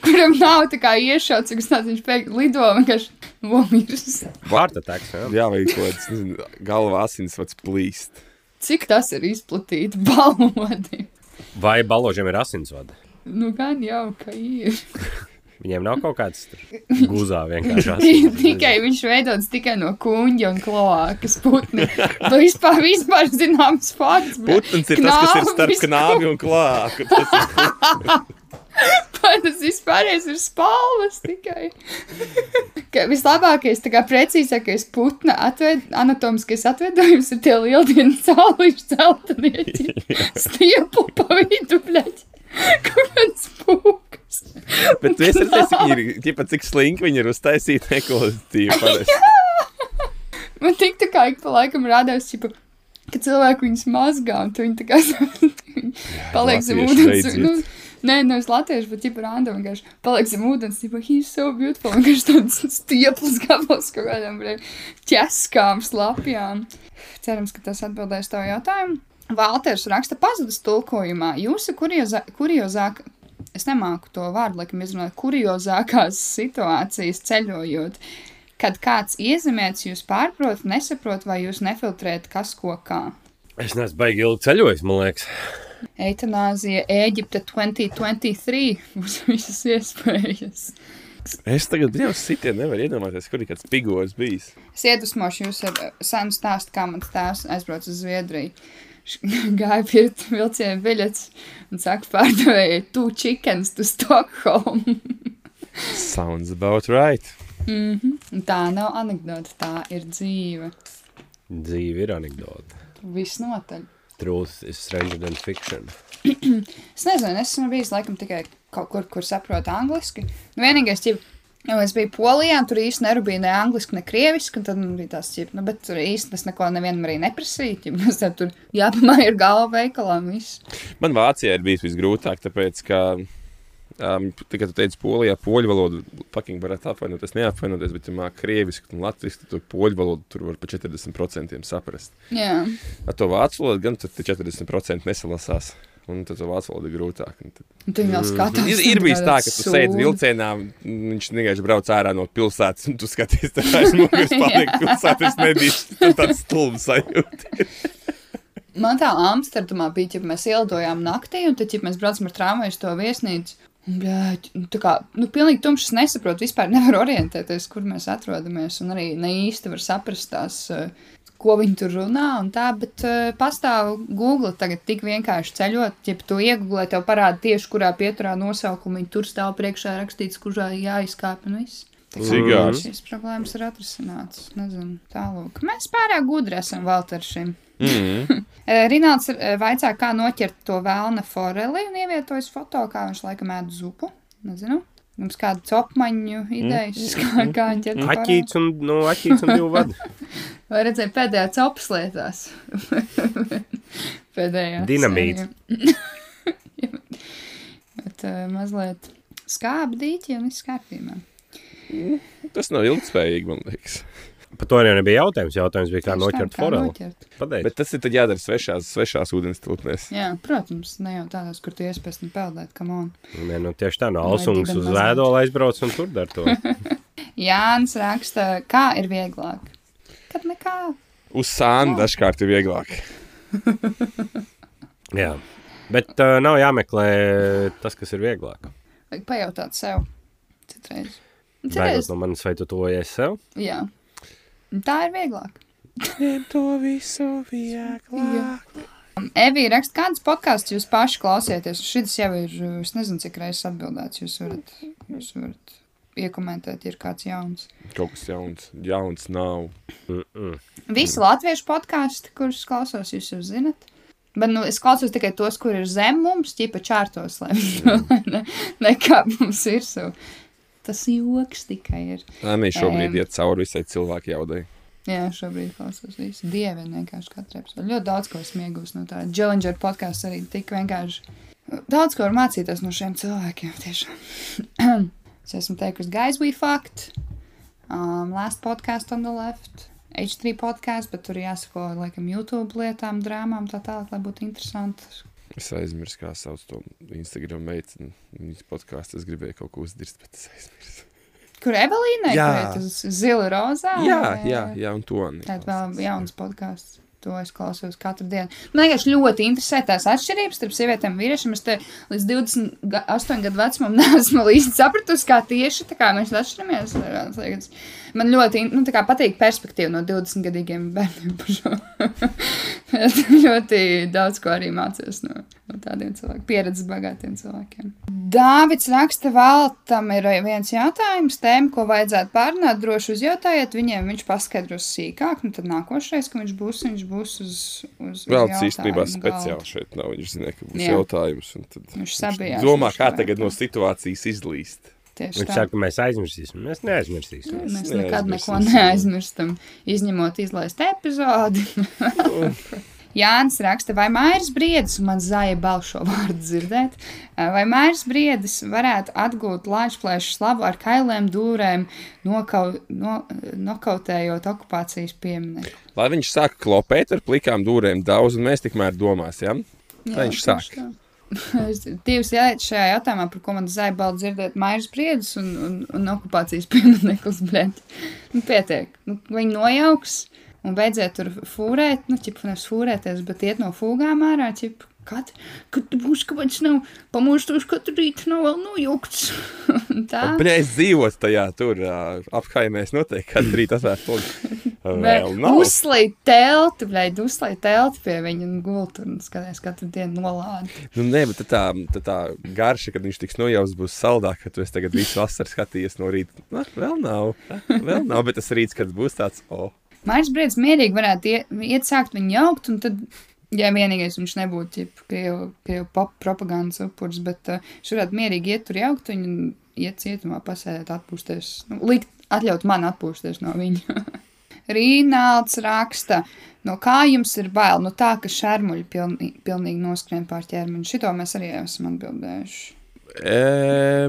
A: kuram nav tā kā iešauts, kas tāds viņš pēkšņi lido un vienkārši nomirst.
B: Vārta taks. jā.
C: Jā, vai kaut kāds galvā asins vats plīst.
A: Cik tas ir izplatīti [laughs] balodi?
B: Vai baložiem ir asinsvada?
A: Nu, gan jau, ka ir.
B: Viņiem nav kaut kāds tur guzā vienkārši. asins.
A: [laughs] tikai viņš veidots tikai no kuņģa un kloākas putni. [laughs] Tu vispār, vispār zināms fakts. bet
C: Putns ir tas, kas ir starp
A: knābis,
C: knābi un klāku. Tas ir
A: Vai tas vispārējais ir spalvas tikai? Ka Vislabākais, tā kā precīzākais putna atved, anatomiskais atvedojums ir tie lieldienas cauruļi, zeltanieķi.
C: [laughs]
A: Stiepu pa vidu, bļaļ. Kaut kāds pūkas.
C: Bet es redzu, cik viņi ir, ķipa, cik slinki viņi ir uztaisīti [laughs] ekoloģiski. parasti.
A: Man tik tā kā ik pa laikam rādās, čipa, ka cilvēki viņus mazgā, un tu viņi tā kā [laughs] paliek zem
C: latvieši
A: ūdens.
C: beidziet.
A: un- Nu, nē, no es latviešu, bet čipa rāda vienkārši paliek zem ūdens, čipa, he's so beautiful, un viņš tāds stieplis gabals kaut kādām bre, ķeskām, slapjām. Cerams, ka tas atbildēs tavu jautājumu. Valters raksta pazudus tulkojumā. Jūsu kuriozā- kuriozāk, es nemāku to vārdu, laikam izrunāt, kuriozākās situācijas ceļojot. Kad kāds iezemēts, jūs pārprotat, nesaprotat, vai jūs nefiltrējat, kas ko kā.
B: Es neesmu baigi ilgi ceļojis, man liekas.
A: Eitanāzija, Eģipte [laughs] 2023. Mums visas iespējas.
C: Es tagad jau sitienu, nevaru iedomāties, kur ir kāds pigors bijis.
A: Es iedvesmošu jūs ar eh, senu stāstu, kā mans tēvs aizbrauca uz Zviedriju. Viņš [laughs] Gāja pirkt vilcienu biļetes un saka, pārdevēji, tu čikens, tu Stokholmu.
C: Sounds about right.
A: [laughs] Un tā nav anekdote, tā ir dzīve.
B: Dzīve ir anekdote.
A: Visnotaļ.
B: Truth is stranger than fiction.
A: Es nezinu, es esmu bijis laikam tikai kaut kur, kur saprotu angliski. Nu, vienīgais, ja jau es biju polijā, un tur īstenībā nerunāju ne angliski, ne krieviski, un tad man bija tās ķip, nu, bet tur īstenībā es neko nevienam arī neprasīju. Ķip, [laughs] es tev tur jāpamāja ar galvu veikalā un viss.
C: Man Vācijā ir bijis visgrūtāk, tāpēc, ka, um, tā, kad tu teici, polijā poļu valodu fucking varētu apvainoties, neapvainoties, bet, ja māki krievisku un latviešu, tad to poļu valodu tur var pa 40% saprast.
A: Jā,
C: Ar to vācu valodu gan tur tie 40% nesalasās. Un tad to vācu valodu ir grūtāk. Un Tad...
A: un tu jau skatās.
C: Mm. Ir,
A: un
C: ir bijis tā,
A: tāds
C: ka tu sēdi
A: sūdi.
C: vilcienā, un viņš vienkārši brauc ārā no pilsētas, un tu skaties, tā kā aiz muguras paliek pilsētas nedīšs. Tad tāds stulbs sajūta.
A: Man tā Amsterdamā bija, ja mēs ielidojām naktī, un tad, ja mēs braucam ar tramvaju uz to viesnīcu, un, bļāķ, nu, tā kā, nu, pilnīgi tumšs es [laughs] nesaprotu, vispār nevar orientēties, kur mēs atrodamies, un arī ne īsti var saprast tās, eh, ko viņi tur runā, un tā, bet uh, pastāv Google tagad tik vienkārši ceļot, ja tu iegūlē, tev parāda tieši, kurā pieturā nosaukumu viņi tur stāv priekšā rakstīts, kurā jāizkāpj un viss. Tā kā
C: Cigārs.
A: Šīs problēmas ir atrisinātas. Nezinu, tālāk. Mēs pārāk gudri esam Valteršiem.
C: Mm.
A: Eh, Rināls eh, vaicā, kā noķert to vēlna foreli un ievietojas foto, kā viņš laikam ēd zupu. Nezinu. Mums kāda
B: Mm.
A: copmaņu idejas, kā, kā ķert foreli.
B: Aķīts un, nu, aķīts
A: [laughs]
B: un divu vadu.
A: Vai redzēji pēdējā copas lietās? [laughs] pēdējā.
B: Dinamīts.
A: sērijā. [laughs] Bet uh, mazliet skābi dīķi un viss kārtībā.
C: Tas nav ilgspējīgi, man liekas.
B: Par to arī nebija jautājums. Jautājums bija, kā
A: Tieši tā,
B: noķert foreli.
A: noķert.
B: Pateic.
C: Bet tas ir tad jādara svešās, svešās ūdens tilpnēs.
A: Jā, protams, ne jau tādās, kur tu iespējas peldēt, kam on.
B: Nē, nu tieši tā, no
A: Vai
B: Alsungas
A: dibenu
B: uz
A: mazliet.
B: Vēdola aizbrauc un tur dar
A: [laughs]
B: to.
A: Jānis raksta, kā ir vieglāk. Kad nekā.
C: Uz sānu dažkārt ir vieglāk.
B: Jā. Bet uh, nav jāmeklē tas, kas ir vieglāk.
A: Vajag pajautāt sev. Citreiz. Un
B: Bēgot
A: Citreiz.
B: no manis, vai tu to ies sev?
A: Jā. Un Tā ir vieglāk.
C: To visu vieglāk.
A: Evija, raksta, kādas podkāstus jūs paši klausieties? Šis jau ir, es nezinu, cik reizes atbildēts. Jūs varat, jūs varat iekomentēt, ja ir kāds jauns.
C: Kaut kas jauns, jauns nav.
B: Mm -mm.
A: Visi latviešu podkāstu, kurus klausos, jūs jau zinat. Bet nu, es klausos tikai tos, kur ir zem mums, ķipa čārtos, lai [laughs] viņi ne, nekā mums ir. So. Tas joks tikai ir.
C: Nē, šobrīd
A: Em.
C: iet cauri visai cilvēku jaudai.
A: Jā, šobrīd klausos visu dievu, vienkārši katru epizodi. Ļoti daudz ko esmu iegūstis no tā. Dželindžera podkāsts arī tik vienkārši. Daudz ko var mācīties no šiem cilvēkiem. Tiešām. [clears throat] es esmu teikusi, guys, we fucked. Um, last podcast on the left. H3 podkāsts, bet tur jāsako laikam YouTube lietām, drāmām, tā tālāk, lai būtu interesanti.
C: Es aizmirsu, kā sauc to Instagram meiteni. Viņas podkāstu es gribēju kaut ko uzdirst, bet es aizmirsu.
A: Kur Evelīna
C: Jā.
A: ir? Tas zila rozā.
C: Jā, jā, jā, un to nē.
A: Tātad vēl jauns podkāsts. To es klausos katru dienu. Man vienkārši ļoti interesē tās atšķirības starp sievietēm un vīriešiem. Es te līdz 28 gadu vecumam [laughs] neesmu īsti sapratusi, kā tieši tā kā mēs atšķiramies. Tāds liekas. Man ļoti in- nu, tā kā patīk perspektīva no 20 gadīgiem bērniem par šo. Es [laughs] ļoti daudz ko arī mācījos no, no tādiem cilvēkiem, pieredzes bagātiem cilvēkiem. Dāvids raksta, Valtam ir viens jautājums, tēma, ko vajadzētu pārunāt. Droši uzjautājiet viņiem, viņš paskaidros sīkāk. Nu, tad nākošais, kad viņš būs, viņš būs uz, uz, uz
C: Vēl tas īstenībā
A: jautājumu galda.
C: speciāli šeit nav. Viņš zināja, ka būs
A: Jā.
C: jautājums. un tad
A: Viņš sabijās,
C: Domā,
A: viņš
C: kā
A: varētu.
C: tagad no situācijas izlīst.
A: Tieši
B: Viņš
A: tā.
B: saka, ka mēs aizmirsīsim. Mēs neaizmirsīsim.
A: Mēs
C: neaizmirsīsim.
A: nekad neko neaizmirstam, izņemot izlaist epizodi. Jānis raksta, vai Mairis Briedis, un man zāja balšo vārdu dzirdēt, vai Mairis Briedis varētu atgūt lāčplēšu slavu ar kailēm dūrēm, nokau, no, nokautējot okupācijas pieminieku.
C: Lai viņš sāk klopēt ar plikām dūrēm daudz, un mēs tikmēr domāsim. Jā, viņš sāk.
A: tieši tā. [laughs] Es- Divas lietas šajā jautājumā, par ko man zāja balda dzirdēt, Mairis Briedis un, un, un okupācijas [laughs] piemineklis, blēņ. Nu, pietiek. Nu, viņi nojauks un beidziet tur fūrēt, nu, ķip, nevis fūrēties, bet iet no fūgām ārā, ķip, kad, kad būs kaut kāds nav, pamostos katru rītu nav vēl nojaukts. [laughs] Un tā.
C: Brīsīs dzīvot tajā tur ā, apkaimēs noteikti katru rītu atvērt logu. Vēl nav.
A: Uzslēgt telti, blēņ, uzslēgt telti pie viņa un gultu un skaties katru dienu nolādi.
C: Nu, nē, bet tad tā, tad tā garša, kad viņš tiks nojauts, būs saldāk, ka tu esi tagad visu vasaru skatījies no rīta. Nā, vēl nav, vēl nav, bet tas rīts, kad būs tāds, o, oh,
A: Mairis Briedis mierīgi varētu iet, iet sākt viņu jaukt, un tad, ja vienīgais viņš nebūtu ķip, krievu, krievu pop- propagandas upurs, bet uh, viņš varētu mierīgi iet tur jaukt viņu un iet cietumā pasēdēt, atpūsties. Nu, likt, atļaut man atpūsties no viņa. [laughs] Rīnāls raksta, no kā jums ir bail, no tā, ka šermuļi pilnī, pilnīgi noskrien pār ķermeni. Šito mēs arī esam atbildējuši.
C: e,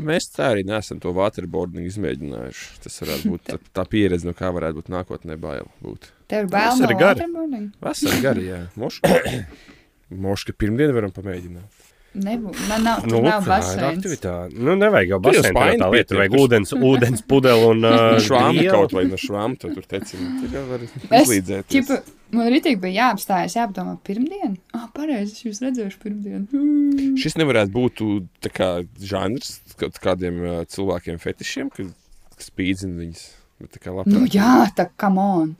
C: mēs tā arī neesam to waterboarding izmēģinājuši. Tas varētu būt tā, tā pieredze, no kā varētu būt nākotnē bail būt.
A: Tev ir bail
B: Tas
A: no
B: ir gari.
A: waterboarding?
C: Vasarā garā, jā, moška. [coughs] Moška pirmdien varam pamēģināt.
A: Nebūs. Man nav,
B: Nu,
A: nu, nav
B: tā ir
A: baseins.
B: aktivitāte. Nu, nevajag jau
C: Tur jau
B: basēnu
C: spaini
B: tā
C: pietiek,
B: lietu, vajag
C: tur-
B: ūdens, ūdens pudeli
C: [laughs]
B: un uh,
C: Švāmi
B: vielu.
C: kaut vai [laughs] no švām, tad tur teicam, tā kā var
A: Es,
C: izlīdzēt.
A: ķipa, man arī tik bija jāapstājas, jāpadomā, pirmdien. Ah, pareizi, es jūs redzēšu pirmdien.
B: Hmm.
A: Mm.
C: Šis nevarētu būt ū, tā kā žanrs kaut kādiem ā, cilvēkiem fetišiem, kas, kas spīdzina viņus. Bet tā kā labprāt.
A: Nu, jā, tā kā man.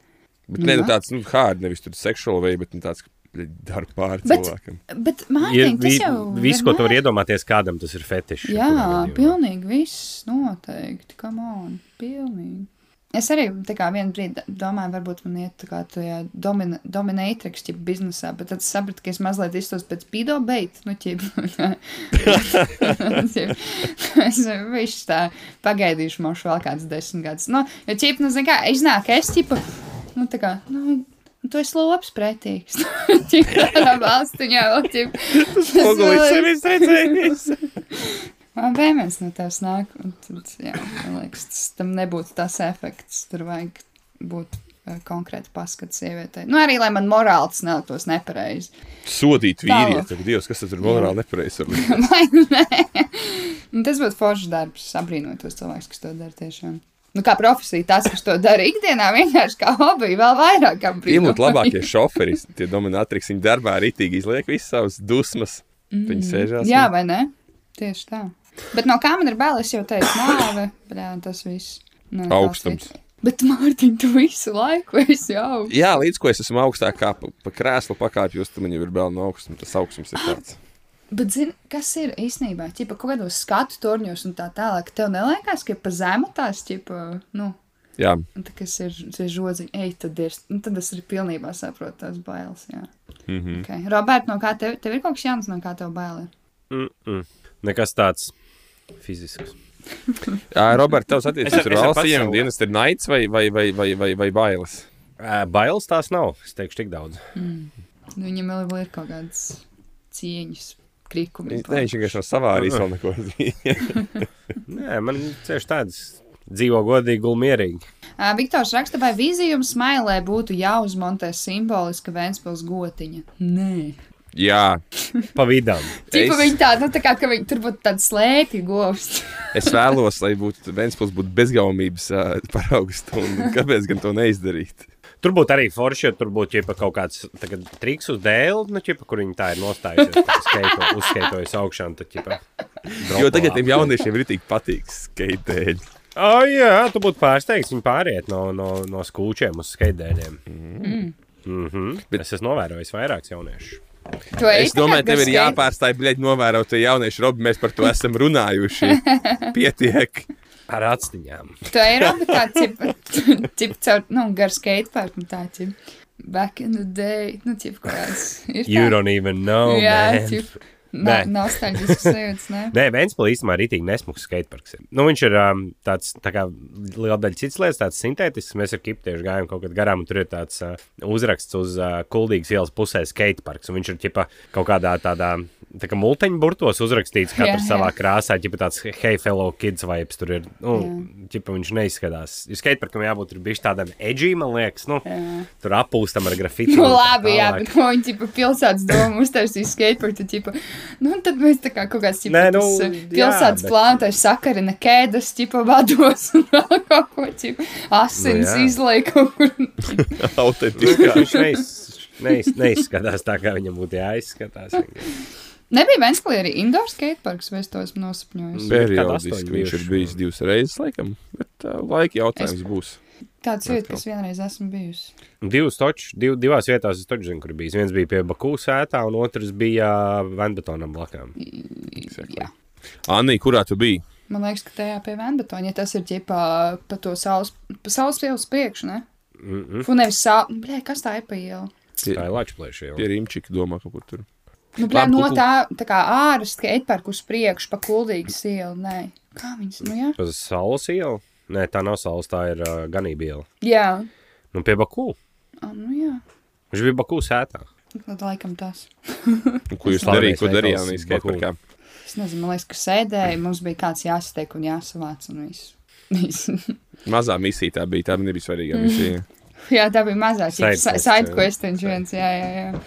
C: Bet ne nu, tāds, nu, hard, nevis tur seksuāli vai, bet nu, tāds, ka dara pāri
A: Bet-
C: cilvēkam.
A: Bet,
B: Ir
A: Mārtiņ, tas
B: vi-
A: Ah, jau
B: viss, ko tu
A: vienmēr-
B: vari iedomāties, kādam tas ir fetišs.
A: Jā,
B: jebkurā gadījumā.
A: pilnīgi viss noteikti. Come on, pilnīgi. Es arī tā kā vienā brīdī domāju, varbūt man iet tā kā tajā domina- dominatrix ķip biznesā, bet tad es sapratu, ka es mazliet iztos pēc pido beit, nu ķip. Ķip. es viš tā pagaidīšu mošu vēl kāds desmit gadus. Nu, jo ķip, nu, zin kā, iznāk, es ķipa, nu tā kā, nu, tu esi labs pretīgs. [laughs] Ķip, tādā valstiņā vēl ķip.
C: Pogulis sevis redzējis.
A: [laughs] Man vēmēs no tās nāk, un tad, jā, man liekas, tas, tam nebūtu tas efekts. Tur vajag būt eh, konkrēti paskats sievietei. Nu, arī, lai man morāls neliktos nepareizi. [laughs]
C: Sodīt
A: Tālāk.
C: vīrieti. Dievs, kas tas ir morāli
A: [laughs]
C: nepareizi. ar viņu?
A: Vai ne? Un tas būtu foršs darbs, abrīnojot tos cilvēkus, kas to dara tiešām. Nu, kā profesija, tas, kas to dara ikdienā, vienkārši kā hobija, vēl vairāk
C: Iemūt
A: apbrīnojot.
C: labākie šoferi, tie dominatriksi, viņi darbā ritīgi izliek visas savas dusmas. Viņi sēžās.
A: Mm. Jā,
C: un-
A: vai ne? Tieši tā. Bet no kā man ir bail, es jau teicu, nāve, brā, tas viss. Nē,
C: Augstums.
A: tas- Bet, Mārtiņ, tu visu laiku esi augsts.
C: Jā, līdz ko es esmu augstāk kā pa, pa krēslu pakāpjos, tad man jau ir bail no augstuma. Tas augstums ir tāds.
A: Bet, zini, kas ir īstenībā? Čipa, kaut kādos skatu torņos un tā tālāk, tev neliekas, ka ir pa zemu tās, čipa, nu,
C: Jā,
A: tā kas ir tie žodziņi, ej, tad ir, nu, tad es arī pilnībā saprotu tās bailes, jā. Mm -hmm. okay. Robert, no kā tev, tev ir kaut kas jauns, no kā tev bail ir?
B: Mm -mm. Nekas tāds fizisks.
C: Ā, Robert,
B: Es
C: tavs
B: ar-
C: attiecības ar
B: es ar
C: valsts ieņem
B: pasauli.
C: dienas ir naids vai, vai, vai, vai, vai, vai bailes?
B: Ē, Bailes tās nav. Es teikšu, tik daudz.
A: Nu, viņam vēl ir kaut kādas cieņas, krikumi.
C: Viņš- Nē, viņš vienkārši no savārijas vēl neko.
B: Nē, man tieši tāds dzīvo godīgi, gulmi mierīgi.
A: Ā, Viktors raksta, vai vizijums smailē būtu jāuzmontē simboliska Vēnspils gotiņa? Nē.
C: [laughs] Jā,
B: Pa vidām.
A: Čipa,
C: Es-
A: viņa tā, nu, tā kā, ka viņa tur būtu tāda slēpja govs.
C: es vēlos, lai būtu Vēnspils būtu bezgaumības ā, paraugs. un Kāpēc gan to neizdarīt?
B: Tur būtu arī forši, ja tur būtu ķipa, kaut kāds tā kā triks uz dēļa, nu, ķipa, kur viņi tā ir nostājusies. Uzskaitojas augšā, un tad ķipa.
C: Jo tagad tiem jauniešiem ir tik patīk skaitēļi.
B: Oh, jā, tu būtu pārsteigts. Viņi pāriet no, no, no skūčiem uz skaitdēļiem. Mm. Mm -hmm. Bet es esmu novērojis vairākus jauniešus.
A: Tu ej
C: Es domāju,
A: tagad
C: tev ir
A: bez skate-
C: jāpārstāj, bļaigi, novērot to jauniešu robu. Mēs par to esam runājuši. Pietiek.
B: Ar atstiņām.
A: [laughs] Tu ej robi tā, cip, [laughs] cip caur, nu, gar skateparku un tā, cip. Back in the day, nu, cip, kaut kāds. Ir
B: You don't even know.
A: Jā,
B: man.
A: cip. Na,
B: Nē.
A: nostalģisks [laughs] sajūts, ne?
B: Nē, Vēnspils īstenībā ir rītīgi nesmugs skateparks. ir. Nu, viņš ir um, tāds tā kā liela daļa citas lietas, tāds sintētisks. Mēs ar Kiptiešu gājām kaut kad garām, un tur ir tāds uh, uzraksts uz uh, kuldīgas ielas pusē skateparks. Un viņš ir ķipa, kaut kādā tādā tā kā multiņu burtos uzrakstīts,
A: Jā,
B: katrs
A: jā.
B: savā krāsā, ja tāds hei, fellow kids vibes tur ir. Nu, ķipa, viņš neizskatās. Ir skateparkam jābūt tur bišķi tādam edžī, man liekas. Nu,
A: Jā.
B: tur apūstam ar grafitiem.
A: Nu, labi, jā, bet ko [laughs] viņi, tipa, pilsētas doma uztaisīja skateparku, tad, tipa, nu, un tad mēs tā kā kaut kāds, tipa,
B: Nē, nu,
A: tas, eh,
B: jā,
A: pilsētas
B: bet-
A: plānotais sakarina kēdas, tipa, [laughs] vados un vēl kaut ko, tipa, asins
B: Nu, jā.
A: izlēja kaut kur.
C: Autentiskā.
B: Viņš neiz, neiz, neizskatās tā, kā viņam būtu jāizskatās. vienkārši.
A: [laughs] Nebija Vensklī arī indoor skateparks, vai es to esmu nosapņojusi?
B: Bet-
C: Periodiski viņš ir bijis divas reizes, laikam. Bet uh, laika jautājums es... būs.
A: Tāds jūtas, kas vienreiz esmu bijusi.
B: Divas točas, div, divās vietās es toču zinu, kur bijis. Viens bija pie Baku sētā, un otrs bija Vanbetonam blakām.
A: Jā.
C: Anī, kurā tu biji?
A: Man liekas, ka tajā pie Vēnbetoņa, ja tas ir ģipā pa to saules, pa saules pielas priekšu, ne?
B: Mm -mm.
A: Un nevis sā... Blē, kas tā ir pa ielu?
C: Tie,
B: Tā ir Latvijas
C: tie
B: plēšana.
C: rīmčiki domā kaut kur tur.
A: Nu, blē,
C: Labi,
A: no
C: kuku.
A: tā, tā kā āras skateparku uz priekšu, pa kuldīgas ielu, nē. Kā viņas, nu jā?
B: Uz saules ielu? Nē, tā nav saules, tā ir uh, ganība iela.
A: Jā.
B: Nu, pie Baku.
A: A, nu jā.
B: Viņš bija Baku sētā.
A: Tad laikam tas.
C: Nu, Ko jūs
B: Slavenais
C: darījāt? Ko darījāt?
B: veikals
C: Anī, skaitparkā?
A: Es nezinu, man liekas, ka sēdēja, mums bija kāds jāsatiek un jāsavāc un viss. [laughs] Viss.
C: Mazā misija tā bija. Tā nebija svarīga misija.
A: Jā, tā bija mazā
B: Side quest,
A: side
B: jā.
A: questions viens. Jā, jā, jā.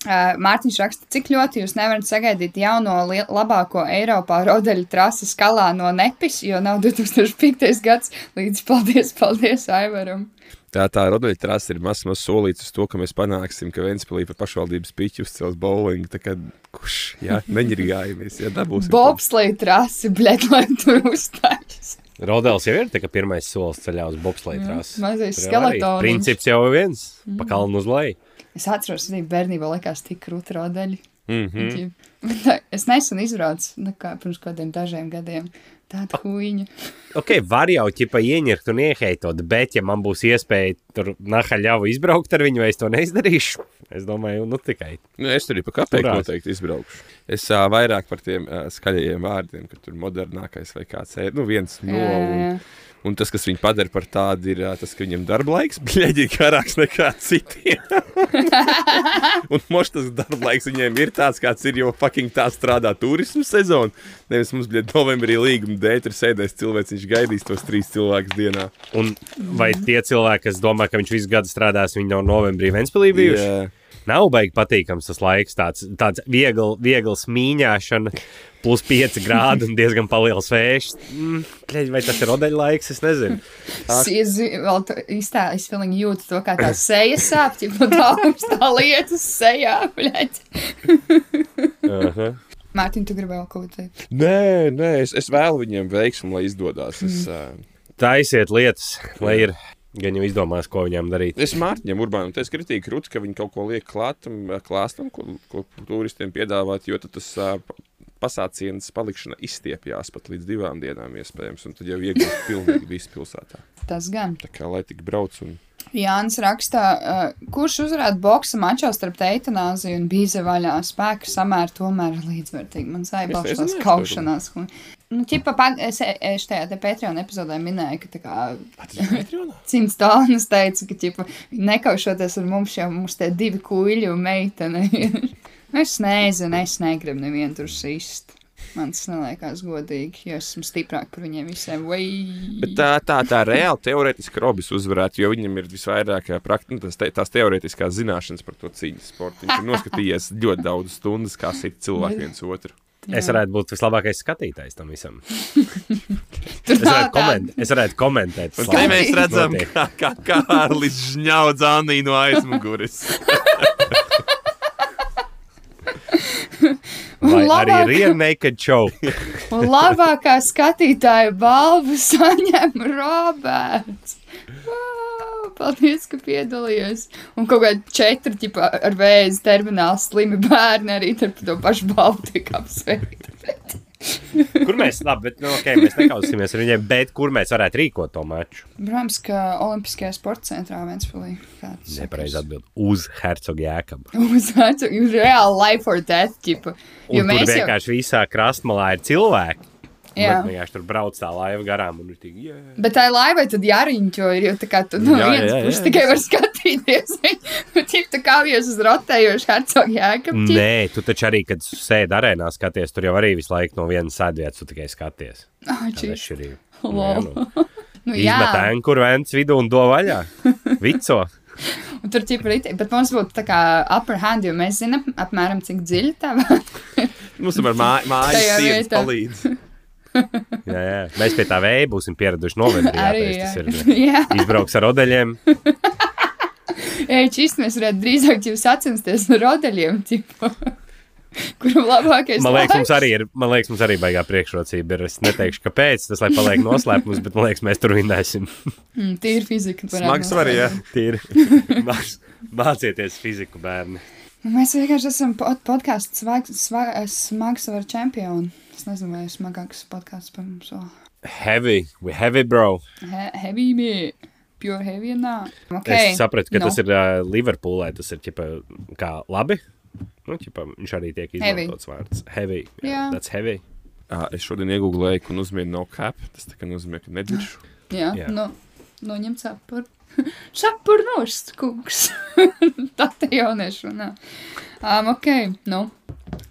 A: Uh, Mārtiņš raksta, cik ļoti jūs nevarat sagaidīt jauno lie- labāko Eiropā rotaļu trasi skalā no Nepis, jo nav [laughs] 2005. gads līdz paldies, paldies Aivaram.
C: Tā tā rodaļa trasa ir mazs maz solīts uz to, ka mēs panāksim, ka Vēnspēlī par pašvaldības piķu uzcels bowling. Tā kā kurš, jā, neņirgājamies, ja dabūsim.
A: Bobslēja trasi, bļet, lai tur uzstājas.
B: Rodels jau ir tā, ka pirmais solis ceļā uz bobslēgtās.
A: Mm, mazais skeletoniņš.
B: Princips jau ir viens, pa kalnu uz leju.
A: Es atceros, arī bērnībā likās tik krūti rodeļi.
C: Mhm.
A: Mm. Tā, [laughs] es nesen izbraucu, nu, kā, pirms kaut kādiem dažiem gadiem. Tāda huīņa.
B: Ok, var jau ķipa ieņirkt un ieheitot, bet ja man būs iespēja tur nahaļāvu izbraukt ar viņu, vai es to neizdarīšu, es domāju, nu tikai.
C: Nu, es tur biju pakāpēji,
B: Kurās?
C: noteikti izbraukšu. Es uh, vairāk par tiem uh, skaļajiem vārdiem, ka tur modernākais vai kāds ir. Nu, viens no.
A: Jā, jā,
C: Un,
A: jā.
C: un tas, kas viņu padara par tādu, ir uh, tas, ka viņam darba laiks [laughs] bļaigi garāks nekā citiem. un mož tas darba laiks viņiem ir tāds, kāds ir, jo fucking tā strādā turismu sezonu. Nevis mums bija novembrī līguma dēļ, tur sēdēs cilvēks, viņš gaidīs tos trīs cilvēkus dienā.
B: Un vai tie cilvēki, kas domā, ka viņš visu gadu strādās, viņi nav novembrī Ventspēlī bijuši? Yeah. Nav baigi patīkams tas laiks, tāds, tāds viegls, viegls mīņāšana, plus 5 grādi un diezgan liels vējš. Mm, kļeļ, vai tas ir rodeļlaiks, es nezinu.
A: Siezi- vēl tu- īstā- Es pilnīgi jūtu to, kā tā seja sāp, ja no daudzas tā lietas sejā, [laughs] bļaļ.
B: Aha.
A: Mārtiņ, tu gribēji vēl kaut ko teikt?
C: Nē, nē, es, es vēlu viņiem veiksmu, lai izdodas. Es, uh,
B: Taisiet lietas, lai ir. Gan jau izdomās, ko viņam darīt.
C: Es Mārtiņam Urbānam teicu, kritīk krūti, ka viņi kaut ko liek klātam, klāstam, ko, ko turistiem piedāvāt, jo tad tas ā, pa- pasācienas palikšana izstiepjās pat līdz divām dienām iespējams, un tad jau [laughs] iegūst pilnīgi visu pilsētā.
A: Tas gan.
C: Tā kā lai tik brauc un...
A: Jānis rakstā, uh, kurš uzrāda boksa mačā starp eitanāziju un bīza vaļā spēku samēru tomēr ir līdzvērtīgi. Man
C: Es
A: saibauš
C: nezinu,
A: tās
C: es to
A: kaušanās. un- Nu, ķipa, pa- es, es tajā te Patreon epizodē minēju, ka tā kā [laughs] Cimds Tālnes teica, ka ķipa, nekaušoties ar mums, jau mums tie divi kuļi un meitene. ir. [laughs] Nu, es nezinu, es negribu nevienu tur sist. Man tas neliekās godīgi, jo esmu stiprāk par viņiem visiem. Vai...
C: Bet tā, tā, tā reāli teorētiski Robis uzvarētu, jo viņam ir visvairāk ā, prakt, nu, tās, te, tās teorētiskās zināšanas par to cīņas sportu. Viņš ir [laughs] noskatījies ļoti daudz stundas, kā sit cilvēki viens otru.
B: Es varētu būt vislabākais skatītājs tam visam.
A: Tur
B: Es varētu, koment, es varētu komentēt.
C: Un
B: tas
C: te
B: labāk,
C: mēs
B: kas
C: redzam,
B: notiek.
C: kā, kā Kārlis žņaudz Anī no aizmuguras. [laughs]
B: Vai arī
A: Labāk.
B: ir naked show.
A: Un labākā skatītāja balvu saņem Roberts. Vau, Paldies, ka piedalījies. Un kaut kādi četri ķipa, ar vēzi terminālu slimi bērni arī ar to pašu balvu tiek apsveikti.
B: Kur mēs, labi, bet, nu, okay, mēs nekausīsimies ar viņiem, bet kur mēs varētu rīkot to maču?
A: Protams, ka Olimpiskajā sporta centrā Vēnspēlī.
B: Nepareizi atbild uz Hercogs jēkabu.
A: Uzvārds ir reāli life or death tipa. Jo
B: Un tur
A: mēs jau,
B: vienkārši visā krastmalā ir cilvēki.
A: jā,
B: Bet vienkārši tur brauc tā laiva garām un ir tik, jā.
A: bet tā ir laiva, tad jāriņķo, ir jau tā kā tu no
C: Jā, jā,
A: vienas
C: jā,
A: puses
C: jā.
A: tikai var skatīties. [laughs] Tip, tu kāvies uz rotējošu hercogu jēkabu. ķip.
B: Nē, tu taču arī, kad sēdi arēnā, skaties, tur jau arī visu laiku no vienas sēdvietas, tu tikai skaties.
A: Ah,
B: Tā
A: čiš.
B: ir
A: Lol. Nu,
B: Izmet
A: [laughs] jā,
B: ankuru vents vidū un do vaļā. Vico.
A: un tur ķipa rītī, bet mums būtu tā kā upper hand, jo mēs zinām apmēram, cik dziļi tā vēl.
C: Mums ir [laughs] māja,
A: Tajā
C: māja sienas
A: vietā.
C: palīdz.
B: Jā, jā. Mēs pie tā vēja būsim pieraduši novembrī.
A: Arī,
B: Arī,
A: jā.
B: tas
A: [laughs]
B: ir.
A: jā.
B: Izbrauks ar rodeļiem.
A: Ei, čist, mēs varētu drīzāk jūs sacensties ar rodeļiem, [laughs] tipa. Kuram labākais
B: Man liekas,
A: laiks?
B: mums arī ir, man liekas, mums arī baigā priekšrocība. Ir. Es neteikšu, kāpēc tas lai paliek noslēpums, bet man liekas, mēs tur vinnēsim.
A: Mm, Tīra fizika. varētu
C: Smags var, jā.
B: [laughs] Tīri. Māc- Mācieties fiziku, bērni.
A: Nu, Mēs vienkārši esam pod podkāstu smags ar čempionu. Es nezinu, vai ir smagāks podkāsts par mums. vēl.
B: Heavy, we heavy, bro.
A: He- Heavy me, pure heavy nā.
B: Okay. Es sapratu, ka
A: nu.
B: no. tas ir uh, Liverpoolē. Tas ir ķipa, kā labi. Nu, ķipa, viņš arī tiek
A: Heavy.
B: izmantots vārds. Heavy.
A: Jā.
B: Yeah. That's heavy.
C: Ā, Es šodien iegūlēju, un uzmēju no cap. Tas tā kā nozīmē, ka nedziršu.
A: Jā,
B: jā.
A: nu, noņem sapur. [laughs] Sapur nost, kungs. [laughs] Tā te jauniešu runā. Um, ok, nu.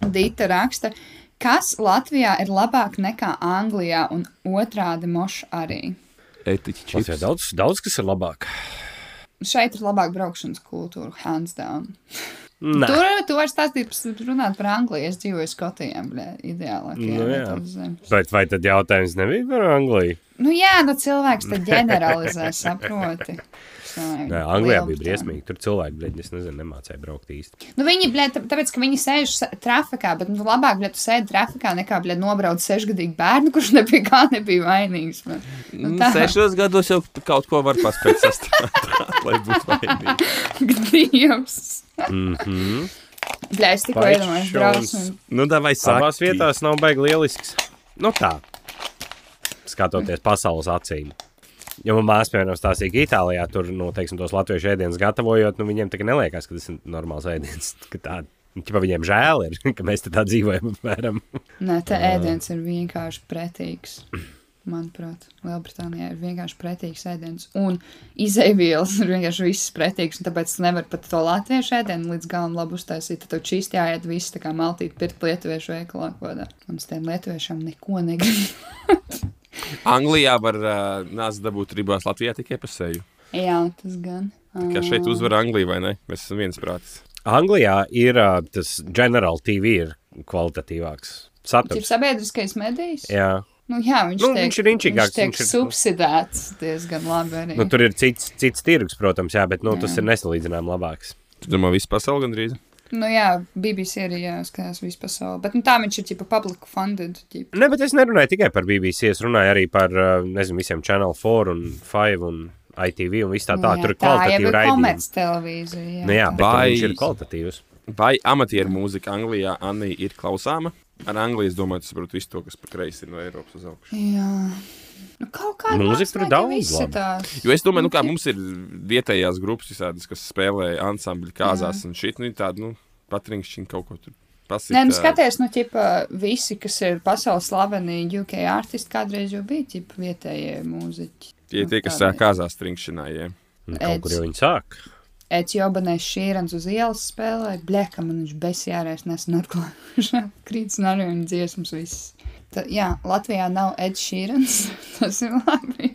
A: Dīta raksta, kas Latvijā ir labāk nekā Anglijā un otrādi moš arī.
C: Etiķis
B: Tas ir
C: čips.
B: daudz, daudz, kas ir labāk.
A: Šeit ir labāk braukšanas kultūra, hands down.
B: Nā.
A: Tur tu vairs stāstīt, runāt par Angliju. Es dzīvoju Skotijā, bļē, ideālākajā
B: Nu, jā.
A: vietā uz zemes.
B: Bet vai tad jautājums nebija par Angliju? [laughs]
A: Nu, jā, nu cilvēks te ģeneralizē, saproti.
B: Nē, Anglijā bija briesmīgi. Tur cilvēki, blēdi, es nezinu, nemācīja braukt īsti.
A: Nu, viņi, blēd, tāpēc, ka viņi sēž sa- trafikā, bet nu, labāk, blēd, tu sēdi trafikā nekā, blēd, nobrauc sešgadīgu bērnu, kurš nebija kā nebija vainīgs. Man. Nu,
B: Mm,
C: Nu,
A: tā. [laughs]
C: sešos gados jau kaut ko var paspēt [laughs] sastāvēt, lai būtu laimīgi.
A: Dievs!
B: Mm -hmm.
A: Bļā, es tikko
B: Vai
A: iedomājos
B: šauns?
A: braucienu.
C: Nu, tā vai
B: Savās
C: sākās
B: vietās nav baigi lielisks. Nu tā, skatoties pasaules acīm. Jo manā māsā, piemēram, stāstīja, ka Itālijā tur, nu, teiksim, tos latviešu ēdienus gatavojot, nu, viņiem tā kā neliekās, ka tas ir normāls ēdiens. [laughs] Ka tā, ķipa, viņiem žēl ir, [laughs] ka mēs te tā dzīvojam, apmēram.
A: Nē, tā ēdiens ir vienkārši pretīgs. Manuprāt, Lielbritānijā ir vienkārši pretīgs ēdiens. Un izaivielas ir vienkārši viss pretīgs. un Tāpēc tu nevari pat to latviešu ēdienu līdz galam labi uztaisīt. Tad tev čīsti jāiet viss tā kā maltīt, pirkt lietuviešu veikalā. kaut kādā. Un es tiem lietuviešiem neko negribu. [laughs]
C: Anglijā var uh, nāc dabūt ribās Latvijā tikai pa seju.
A: Jā, tas gan.
C: Kā šeit uzvar Anglija, vai ne? Mēs esam viensprātis.
B: Anglijā ir ā, tas General TV ir kvalitatīvāks
A: Tas ir
B: saturs.
A: sabiedriskais medijs.
B: Jā.
A: Nu, jā, viņš,
B: Nu,
A: tiek,
B: viņš ir inčīgāks,
A: Viņš tiek
B: viņš
A: viņš
B: ir-
A: ir... subsidēts diezgan labi arī.
B: Nu, tur ir cits, cits tirgus, protams, jā, bet nu, tas ir nesalīdzināms labāks.
C: Tu domā, visu pasauli gandrīz?
A: Nu, jā, BBC arī jāskatās visu pasauli. Bet nu, tā viņš ir tipa public funded. Ģipa.
B: Ne, bet es nerunāju tikai par BBC, es runāju arī par ā, nezinu, visiem Channel 4 un 5 un ITV un visu tā
A: Nu
B: tā. Tur ir kvalitatīva raidījuma.
A: komerc televīzija.
B: Nu, jā, bet
C: Vai-
B: Vai... viņš ir kvalitatīvs.
C: Vai amatieru mūzika Anglijā Anī, ir klausāma? Ar Angliju es domāju, tas saprot visu to, kas pa kreisi ir no Eiropas uz augšu.
A: jā. Nu, kaut kā
B: Mūzika tur daudz laba.
A: Tās.
C: Jo es domāju, nu, kā mums ir vietējās grupas, visādas, kas spēlē ansambļu kāzās un šit, nu, ir tāda, nu, patriņšķiņa kaut ko tur pasīt.
A: Nē, nu
C: ā,
A: skaties, nu, ķipa, visi, kas ir pasaules slaveni UK artisti, kādreiz jau bija ķipa, vietējie mūziķi.
C: Tie, tie kas
A: nu,
C: ā, kāzās
A: [clears throat]
C: triņšķinājiem.
B: Un Kaut kur
A: Edz.
B: jau viņi sāk.
A: Etiopānais šīrans uz ielas spēlē, blēka man viņš besjārēs nesen atklājuši. [laughs] Krīts un arī viņa dziesmas viss. Tā, jā, Latvijā nav Ed Šīrans, [laughs] tas ir labi.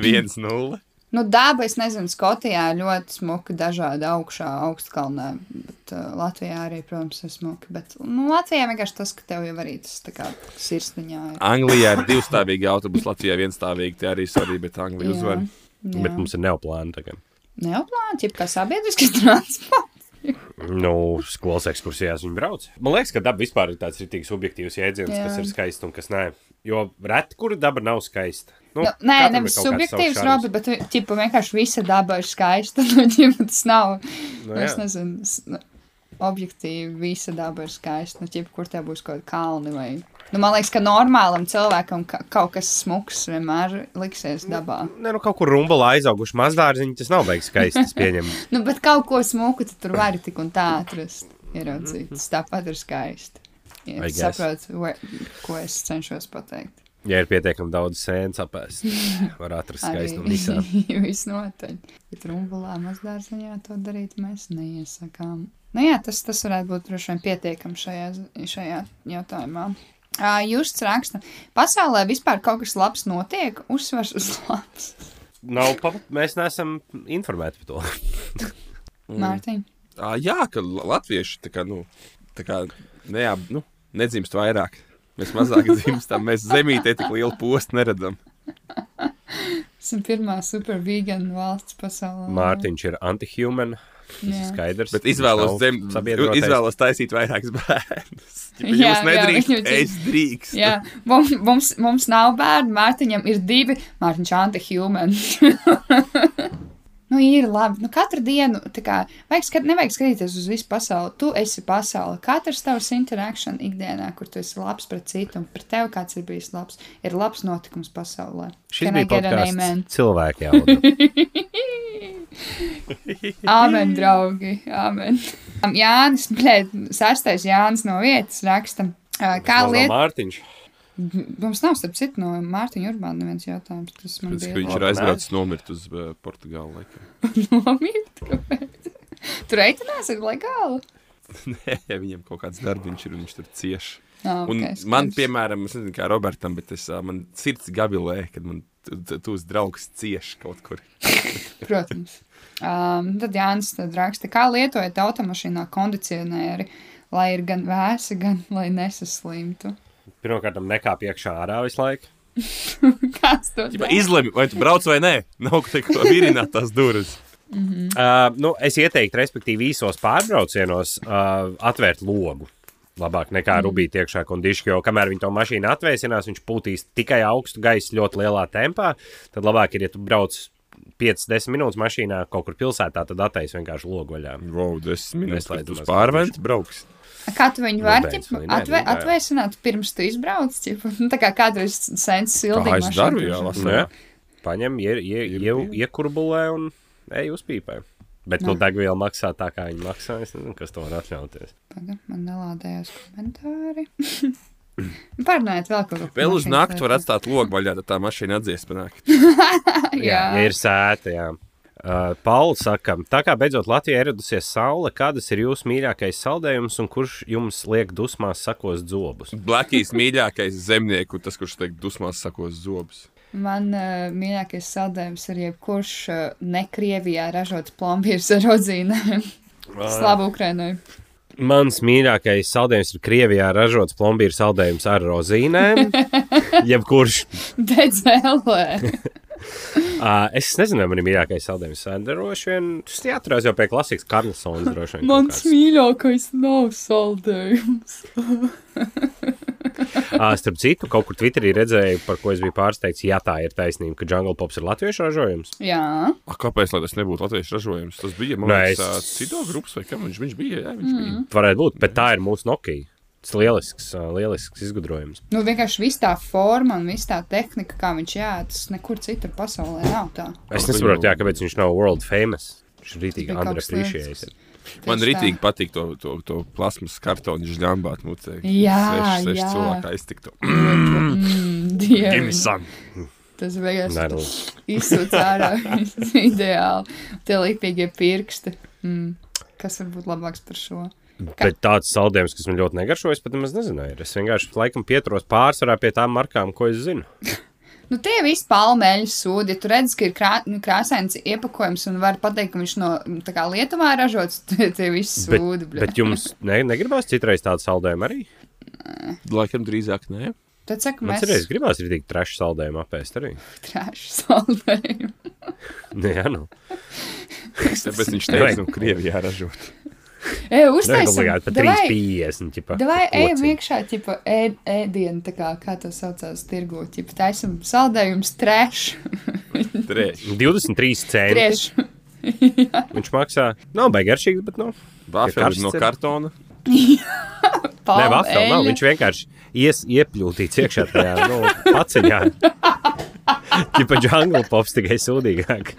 C: Viens nulle.
A: Nu, daba, es nezinu, Skotijā ļoti smuka, dažādi augšā, augstkalnā, bet uh, Latvijā arī, protams, ir smuka, bet, nu, Latvijā vienkārši tas, ka tev jau arī tas tā kā sirsniņā ir.
B: Ah,
C: Anglijā ir divstāvīgi autobusi, Latvijā vienstāvīgi, tie arī svarīgi, bet Anglija
A: Jā.
C: uzvar.
B: Jā. Bet mums ir neoplāna tagad.
A: Neoplānot, ja kā sabiedriskais [laughs] transports.
B: Nu, skolas ekskursijās viņi brauc. Man liekas, ka daba vispār ir tāds rītīgs objektīvs jēdziens,
A: Jā.
B: Jā. kas ir skaists un kas nē. Jo reti, kur daba nav skaista.
A: Nu,
B: Nu,
A: nē,
B: katram ir
A: nevis
B: kaut kāds
A: subjektīvs,
B: savs šarms.
A: Robi, bet ķipa, vienkārši visa daba ir skaista. [laughs] Nu, ķipa, tas nav,
B: Nu,
A: nu, es
B: jā.
A: nezinu, s- nu, objektīvi visa daba ir skaista. Nu, ķipa, kur tev būs kaut kāda kalni vai. Nu, man liekas, ka normālam cilvēkam ka kaut kas smuks vienmēr liksies dabā.
B: Nē, nu kaut kur rumbalā aizauguši mazdārziņi, tas nav beigas skaisti. Es pieņemu.
A: Nu, bet kaut ko smuku tu tur vari tik un tā atrast. Ieraudzīt, tas tāpat ir skaisti. Ja,
B: Mhm. I
A: es
B: guess.
A: saprotu, where- ko es cenšos pateikt.
B: Ja ir pietiekami daudz sēnes apēst,
A: [laughs]
B: var atrast skaistumu visā.
A: Visnotaļ. Bet rumbulā mazdārziņā to darīt mēs neiesakām. Nu jā, tas, tas varētu būt droši vien pietiekami šajā, zi- šajā jautājumā. Uh, jūs raksta, pasaulē vispār kaut kas labs notiek, uzsvars uz labs.
B: Nav, pa- mēs neesam informēti par to.
A: Mm. Mārtiņ,
C: Ā, Jā, ka la- latvieši tā kā, nu, tā kā neap, nu, nedzimst vairāk. Mēs
A: [laughs]
C: mazāk dzimstam, mēs zemītē tik lielu postu neredzam.
A: esam pirmā super vegana valsts pasaulē.
B: Mārtiņš ir antihuman. Tas ir
A: Jā.
B: skaidrs.
C: Bet
B: Viņš
C: izvēlos,
B: nav
C: zem,
B: sabiedrotais.
C: izvēlos taisīt vairākus bērnus.
A: Jā,
C: Ja jūs
A: jā,
C: nedrīkst,
A: viņu-
C: jā, es drīkstu.
A: Jā, mums, mums, mums nav bērnu, Mārtiņam ir divi. Mārtiņš ir anti-human. [laughs] nu, ir labi. Nu, katru dienu, tā kā, vajag skat, nevajag skatīties uz visu pasauli. Tu esi pasaule. Katrs tavs interakcijas ikdienā, kur tu esi labs pret citu un pret tevi kāds ir bijis labs, ir labs notikums pasaulē.
B: Šis
A: Can I
B: bija
A: get an amen?
B: podkāsts cilvēki jauda.
A: Amen, draugi. Amen. Jānis, blēd, sastais Jānis no vietas raksta. ā, [laughs] Kā
B: Maz no
A: lieta?
B: Mārtiņš.
A: Mums nav starp citu no Mārtiņa Urbāna neviens jautājums. Tas man
C: Principā
A: bija.
C: Viņš ir aizbraucis nomirt uz eh, Portugāli. laikam.
A: Nomirt, kāpēc? Tur reitinās ir legāli.
C: [laughs] Nē, viņam kaut kāds darbs ir un viņš tur cieš.
A: Ah,
C: Un
A: okay,
C: okay, man,
A: skaidrs.
C: piemēram, es nezinu, kā Robertam, bet es, ā, man sirds gabilē, kad man tūs draugs cieš kaut kur.
A: Protams. Um, tad Jānis tad raksta, kā lietojat automašīnā kondicionieri, lai ir gan vēsi, gan lai nesaslimtu.
B: Pirmkārt, nekāp iekšā ārā visu laiku.
A: Kāds to
E: Ķipa, Izlemi, vai tu brauc vai nē. Nav ko teikt, ko virināt tās durvis.
B: Uh, nu, es ieteiktu, respektīvi, īsos pārbraucienos uh, atvērt logu. Labāk nekā rubīt iekšā kondišķi, jo kamēr viņa to mašīnu atvēsinās, viņš pūtīs tikai augstu gaisu ļoti lielā tempā. Tad labāk ir, ja tu brauc 5-10 minūtes mašīnā kaut kur pilsētā, tad attais vienkārši logu vaļā.
C: Wow, desmit minūtes.
B: Neslēdzamās
C: Tad uz pārventi brauks.
A: Kā tu viņu
B: Nu,
A: vari
B: beidz,
A: ķip,
B: vai nē,
A: atve,
B: nu, jā.
A: atvēsināt, pirms tu izbrauc? Ķip, nu, tā kā kādreiz sens
C: Tā es daru, jā,
A: sildīja.
C: lasē.
B: Nu, Paņem, ie- ie-
C: Ir
B: ie-
C: bija.
B: iekurbulē un ej uz pīpē. Bet nu, degviela maksā tā, kā viņa maksā. Es nezinu, kas to var atļauties.
A: Man nelādējās komentāri. [laughs] Pārnājiet vēl kaut ko.
E: Vēl uz nakti var
A: [laughs]
E: atstāt logu vaļā, tad tā mašīna atdzies panāk.
A: Jā,
B: ja ir sēta. Jā. Uh, Pauls saka, tā kā beidzot Latvijā ieradusies saule, kādas ir jūsu mīļākais saldējums un kurš jums liek dusmās sakos zobus?
C: Blakijas mīļākais zemnieku, tas, kurš teikt, dusmās sakos zobus.
A: Man uh, mīļākais saldējums ir jebkurš uh, ne Krievijā ražots plombīrs ar rodzīnēm. Slavu Ukrainai.
B: Mans mīļākais saldējums ir Krievijā ražots plombīra saldējums ar
A: [laughs]
B: rozīnēm. Jebkurš.
C: [laughs]
A: Dedzēlē.
B: Uh, es nezinu, vai man ir mīļākais saldējums. Ā, Droši vien tas jāatcerās jau pie klasikas Karlsons. droši vien kaut
A: Mans
B: kāds.
A: mīļākais nav saldējums.
B: Ā, Starp citu, kaut kur Twitterī redzēju, par ko es biju pārsteigts. Jā, tā ir taisnība, ka Jungle Pops ir latviešu ražojums.
A: Jā,
C: A, Ah, kāpēc lai tas nebūtu latviešu ražojums? Tas bija
B: Nē,
C: monētas
B: es-
C: cito grupas, vai kam viņš, viņš bija? Jā, viņš mm.
B: Varētu būt, bet tā ir mūsu Nokia. Tas lielisks, ā, lielisks izgudrojums.
A: nu vienkārši viss tā forma un viss tā tehnika, kā viņš jādara, tas nekur citur pasaulē nav tā.
B: Es
C: Ar
B: nesaprotu,
C: viņu-
B: jā, kāpēc viņš nav world famous. Viņš ir
A: Tas
B: rītīgi
A: bija kaut kas
B: underappreciated.
C: bija. Man
A: Tieši
C: rītīgi patīk to, to, to plasmas kartonu žļambāt mutē.
A: Jā,
C: seši
A: jā.
C: cilvēki aiztiktu.
A: Mm, Dievs.
C: Sam.
A: Tas beigās
B: Nē, nu,
A: izsūta ārā. [laughs] Ideāli. Tie lipīgie pirksti. Mm. Kas var būt labāks par šo?
B: Bet tāds saldējums, kas man ļoti negaršo, es pat nemaz nezināju. Es vienkārši laikam pieturos pārsvarā pie tām markām, ko es zinu.
A: Nu, tie visi palmeļu sūdi. Ja tu redz, ka ir krā, nu, krāsains iepakojums un var pateikt, ka viņš no mm, tā kā Lietuvā ražots, [laughs] tie, tie visi
B: Bet,
A: sūdi. bļa.
B: bet jums ne, negribās citreiz tādu saldējumu arī?
C: [clears throat] Laikam drīzāk nē.
A: Tad saka,
B: Man
A: mēs
B: citreiz gribās rītīgi trašu saldējumu apēst arī.
A: [laughs] trāšu
B: [laughs]
A: saldējumu.
B: Nu, jā, nu.
C: Tāpēc viņš
B: Vai-
C: teica, nu, Krievijā ražot.
A: E,
B: Neobligāti
A: uztaisam.
B: pat
A: davai,
B: 3,50. ķipa,
A: Davai,
B: ar
A: ejam
B: kociņu.
A: iekšā, tipo, ē- ēdienu, tā kā, kā to saucās tirgu, tipo, taisam saldējums,
B: [laughs]
A: treš,
C: Trēš.
B: 23 centi.
A: treš.
B: Viņš maksā. Nav baigi garšīgs, bet nu.
C: Vāfeli
B: karsts
C: no
B: ir.
C: kartona.
B: Nē, vafeli nav. Viņš vienkārši ies, iepļūtīts iekšā tajā nu,
A: [laughs]
B: paciņā. Tipa jungle pops tikai sūdīgāk.
A: [laughs]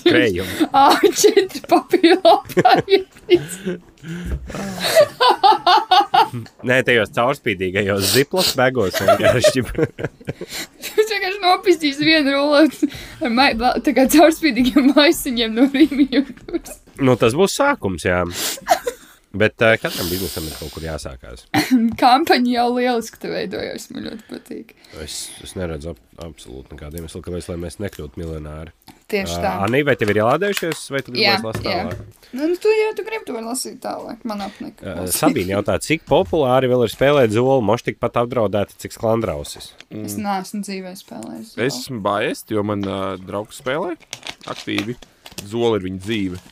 B: Krējumi.
A: Ā, četri
B: [laughs]
A: papīri.
B: Nē, tajos caurspīdīgajos ziplas begos vienkārši.
A: Viņš vienkārši nopietīs vienu rulēti ar mai- bla- tā kā caurspīdīgiem maisiņiem no rīmjiem.
B: Nu, tas būs sākums, jā. Bet uh, katram biznesam ir kaut kur jāsākās.
A: Kampaņa jau lieliski te veidojas, man ļoti patīk.
B: Es, es neredzu ab, absolūti nekādu iemeslu, kāpēc lai mēs nekļūtu miljonāri.
A: Tieši
B: Uh,
A: tā.
B: Anī, vai tev ir jālādējušies, vai tu
A: Jā,
B: gribēji lasīt
A: jā.
B: tālāk?
A: Nu, nu, tu jau tu gribi to lasīt tālāk, man apnika.
B: Uh, Sabīna jautā, cik populāri vēl ir spēlēt zoli, moš tikpat apdraudēta, cik sklandrausis.
A: Es neesmu dzīvē spēlējis.
C: Es esmu bājies, jo man uh, draugs spēlē aktīvi. Zola ir viņa dzīve.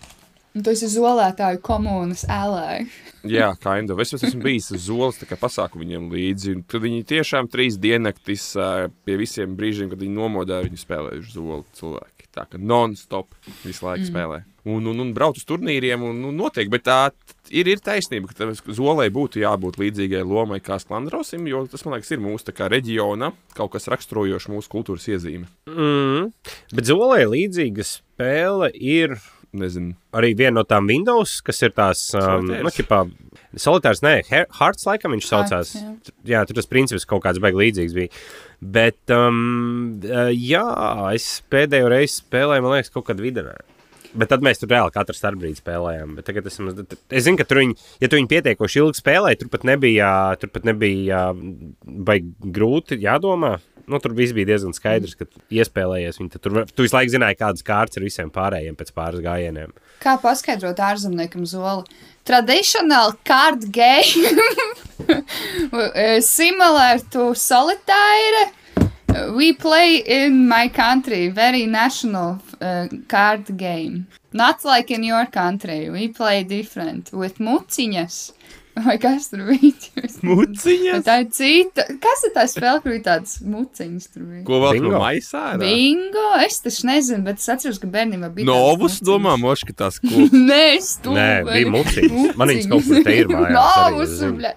A: Un tu esi zolētāju komunas ēlē.
C: Jā, kind of. Es jau esmu bijis uz zolas, tā kā pasāku viņiem līdzi. un Tad viņi tiešām trīs diennaktis ā, pie visiem brīžiem, kad viņi nomodā, viņi spēlējuši zoli cilvēki. Tā kā non-stop visu laiku mm. spēlē. Un, un, un brauc uz turnīriem, un, un notiek. Bet tā t- ir, ir taisnība, ka tas zolei būtu jābūt līdzīgai lomai kā Sklandrausim, jo tas, man liekas, ir mūsu tā kā reģiona kaut kas raksturojošs mūsu kultūras iezīme.
B: Mm. Bet zolē līdzīga spēle ir
C: Nezinu.
B: arī viena no tām Windows, kas ir tās um,
C: Solitairs.
B: nu, ķipā, solitārs, nē, Her- Hearts, laikam viņš saucās.
A: jā.
B: T- Jā, tur tas princips kaut kāds beigas līdzīgs bija. Bet, um, uh, jā, es pēdējo reizi spēlēju, man liekas, kaut kad vidienā. Bet tad mēs tur reāli katru starpbrīdi spēlējām. Bet tagad esam, es zinu, ka tur viņi, ja tu viņi pietiekoši ilgi spēlēja, tur pat nebija, tur pat nebija vai grūti jādomā. Nu, tur viss bija diezgan skaidrs, ka iespēlējies. Viņi tad tur, var- tu visu laiku zināji, kādas kārtas ir visiem pārējiem pēc pāris gājieniem.
A: Kā paskaidrot ārzemniekam zoli? Traditional card [laughs] game simulēta solitaire. We play in my country very national uh, card game. Not like in your country. We play different with muciņas. Vai kas tur bija?
E: Muciņas?
A: Tā ir cita. Kas ir tā spēle, kur ir tādas muciņas tur bija?
E: Ko vēl
B: Bingo.
E: tur maisā?
A: Bingo? Es taču nezinu, bet es atceros, ka bērnībā bija. tādas
E: Novus
A: muciņas.
E: domā, moški tas ko.
A: Nē, es to
B: Nē, bija
A: [laughs]
B: muciņas. Man viņas kaut kur te ir mājās arī,
A: Novus,
B: es zinu. [laughs]
A: bļa.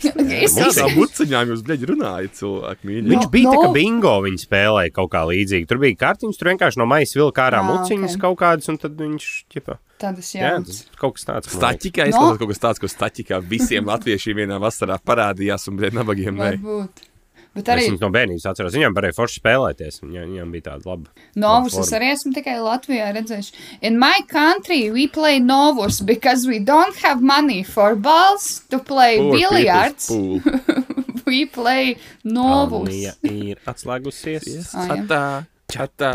E: Jā, tā
A: Es-
E: muciņām jūs, bļaģi, runājat cilvēki, mīļi.
A: Nu,
B: Viņš bija no.
A: no.
B: tā kā bingo, viņa spēlēja kaut kā līdzīga. Tur bija kartiņas, tur vienkārši no maijas vilka ārā
A: Ah, ok.
B: muciņas okay. kaut kādas, un tad viņš ķipa.
A: Tādas
B: Jā,
A: jaunas.
B: tas kaut kas tāds. man liekas.
E: Staķikā
A: No.
E: izskatās kaut kas tāds, ko staķikā visiem latviešiem vienā vasarā parādījās un bija nabagiem. nē.
A: Varbūt. Bet
B: Es
A: arī
B: viņu no bērnības atceros. Viņam varēja forši spēlēties. Viņam, viņam bija tāda laba.
A: Novus
B: forma.
A: es arī esmu tikai Latvijā redzējuši. In my country we play Novus because we don't have money for balls to play
E: Poor people's
A: billiards.
E: pool.
A: We play Novus.
B: Alnija ir atslēgusies. Yes.
A: Ah, jā.
E: Čatā,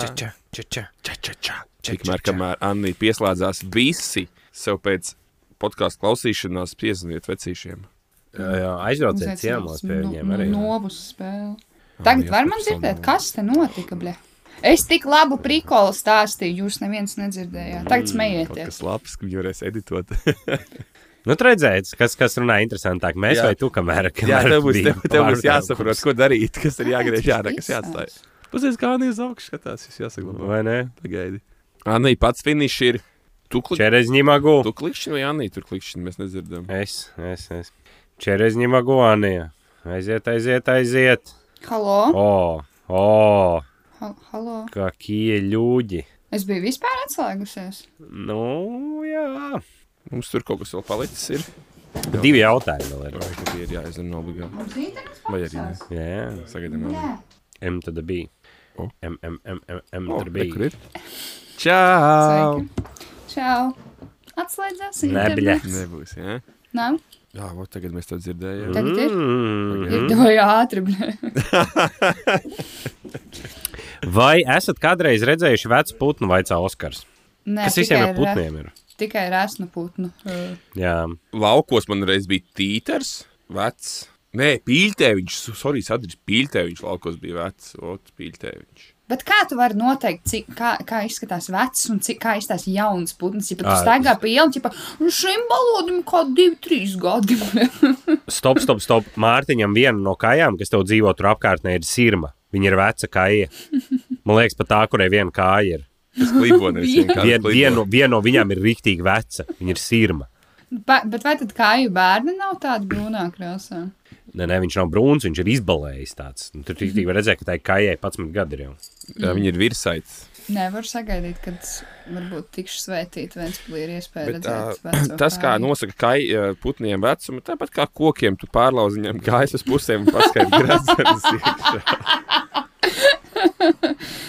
E: čatā.
C: Tikmēr, kamēr Anna pieslēdzās, visi sev pēc podkāstu klausīšanās piezvaniet vecīšiem.
B: Aizrauciet
A: Uzaicinās
B: ciemos pie
A: no-
B: viņiem arī.
A: Nu, Novus spēle. Tagad var man dzirdēt, kas te notika, bļa? Es tik labu prikolu stāstīju, jūs neviens nedzirdējāt.
B: Mm,
A: Tagad
E: Kaut
A: smējieties.
E: kas labs, ka viņi varēs editot.
B: Nu, tur redzēt, kas, kas runā interesantāk. Mēs
E: Jā.
B: jā. vai tu, kamēr,
E: [laughs] Jā,
B: kamēr
E: tev būs,
B: bija
E: tev, tev būs
B: pārtraukums.
E: jāsaprot, ko darīt, kas ir jāgriež ārā, kas
A: Visās.
E: jāatstāj. Pazies, kā Anna uz augšu skatās, jūs jāsaglabā.
B: Vai ne?
E: Pagaidi.
C: Anna pats finišs ir. Tu klikšķi,
B: Čerezņimā
C: tu
B: gūta.
C: klikšķi vai Anna tur klikšķi, mēs nedzirdam.
B: Es, es, es. Čerezņimā gūta. Aiziet, aiziet, aiziet.
A: Halo?
B: O, o,
A: Ha- Halo?
B: kā kie ļūģi.
A: Es biju vispār atslēgusies.
B: Nu, jā.
C: Mums tur kaut kas vēl palicis. Ir.
B: Divi jautājumi vēl ir.
C: Vai ka tie ir jāizrunā obligāti?
A: Mums internets
C: Vai arī ne?
A: pavisās?
B: Jā,
C: Sagaidām, Anna.
A: Jā.
B: M tad bija.
C: O.
B: M, M, M, M, M
C: O,
B: tur
C: re, kur
B: bija.
C: ir?
E: Čau!
A: Sveiki. Čau! Atslēdzās
B: Nebļa.
A: internets.
C: Nebūs, jā.
A: Nav.
C: Jā, vot tagad mēs to dzirdējām.
A: Tagad ir.
B: Mm.
A: Ir doja ātri, bļa. [laughs]
B: Vai esat kādreiz redzējuši vecu putnu, vaicā Oskars?
A: Nē,
B: Kas visiem
A: tikai
B: ir
A: ra-
B: putniem? Ir?
A: Tikai rēsnu putnu. uh,
B: Jā,
C: Laukos man reiz bija tīters, vecs. Nē, pīļtēviņš, su- sorry, sadarbs, pīļtēviņš laukos bija vecs, otrs pīļtēviņš.
A: Bet kā tu vari noteikt, cik, kā, kā izskatās vecs un cik, kā izskatās jauns putns? Ja pat tu
B: Ā,
A: staigā pa ielu, tipā, "Nu, šim balodim kaut divi, trīs gadi. [laughs]
B: stop, stop, stop. Mārtiņam viena no kājām, kas tev dzīvo tur apkārtnē, ir sirma. Viņa ir veca kāja. Man liekas, pat tā, kurai viena kāja ir.
C: Tas klibonis
B: Vien,
C: vienkārši
B: viena no-
C: klibo.
B: viena no viņām ir rīktīgi veca. Viņa ir sirma.
A: Ba, bet vai tad kāju bērni nav tādi brūnā krāsā?
B: Nē, nē, viņš nav brūns, viņš ir izbalējis tāds. Nu, tur rīktīgi var redzēt, ka tai kājai 11 gadi ir jau.
C: Jā, Viņi ir virsaits.
A: Nevar sagaidīt, kad s- varbūt tikšu svētīt, viens plīri ir iespēja
C: Bet,
A: redzēt.
C: tā,
A: veco
C: Nu, tas, kā
A: kāju.
C: nosaka kai, ā, putniem vecumu, tāpat kā kokiem, tu pārlauzi viņam gājas uz pusēm un paskaidri grāmatas.
A: [laughs]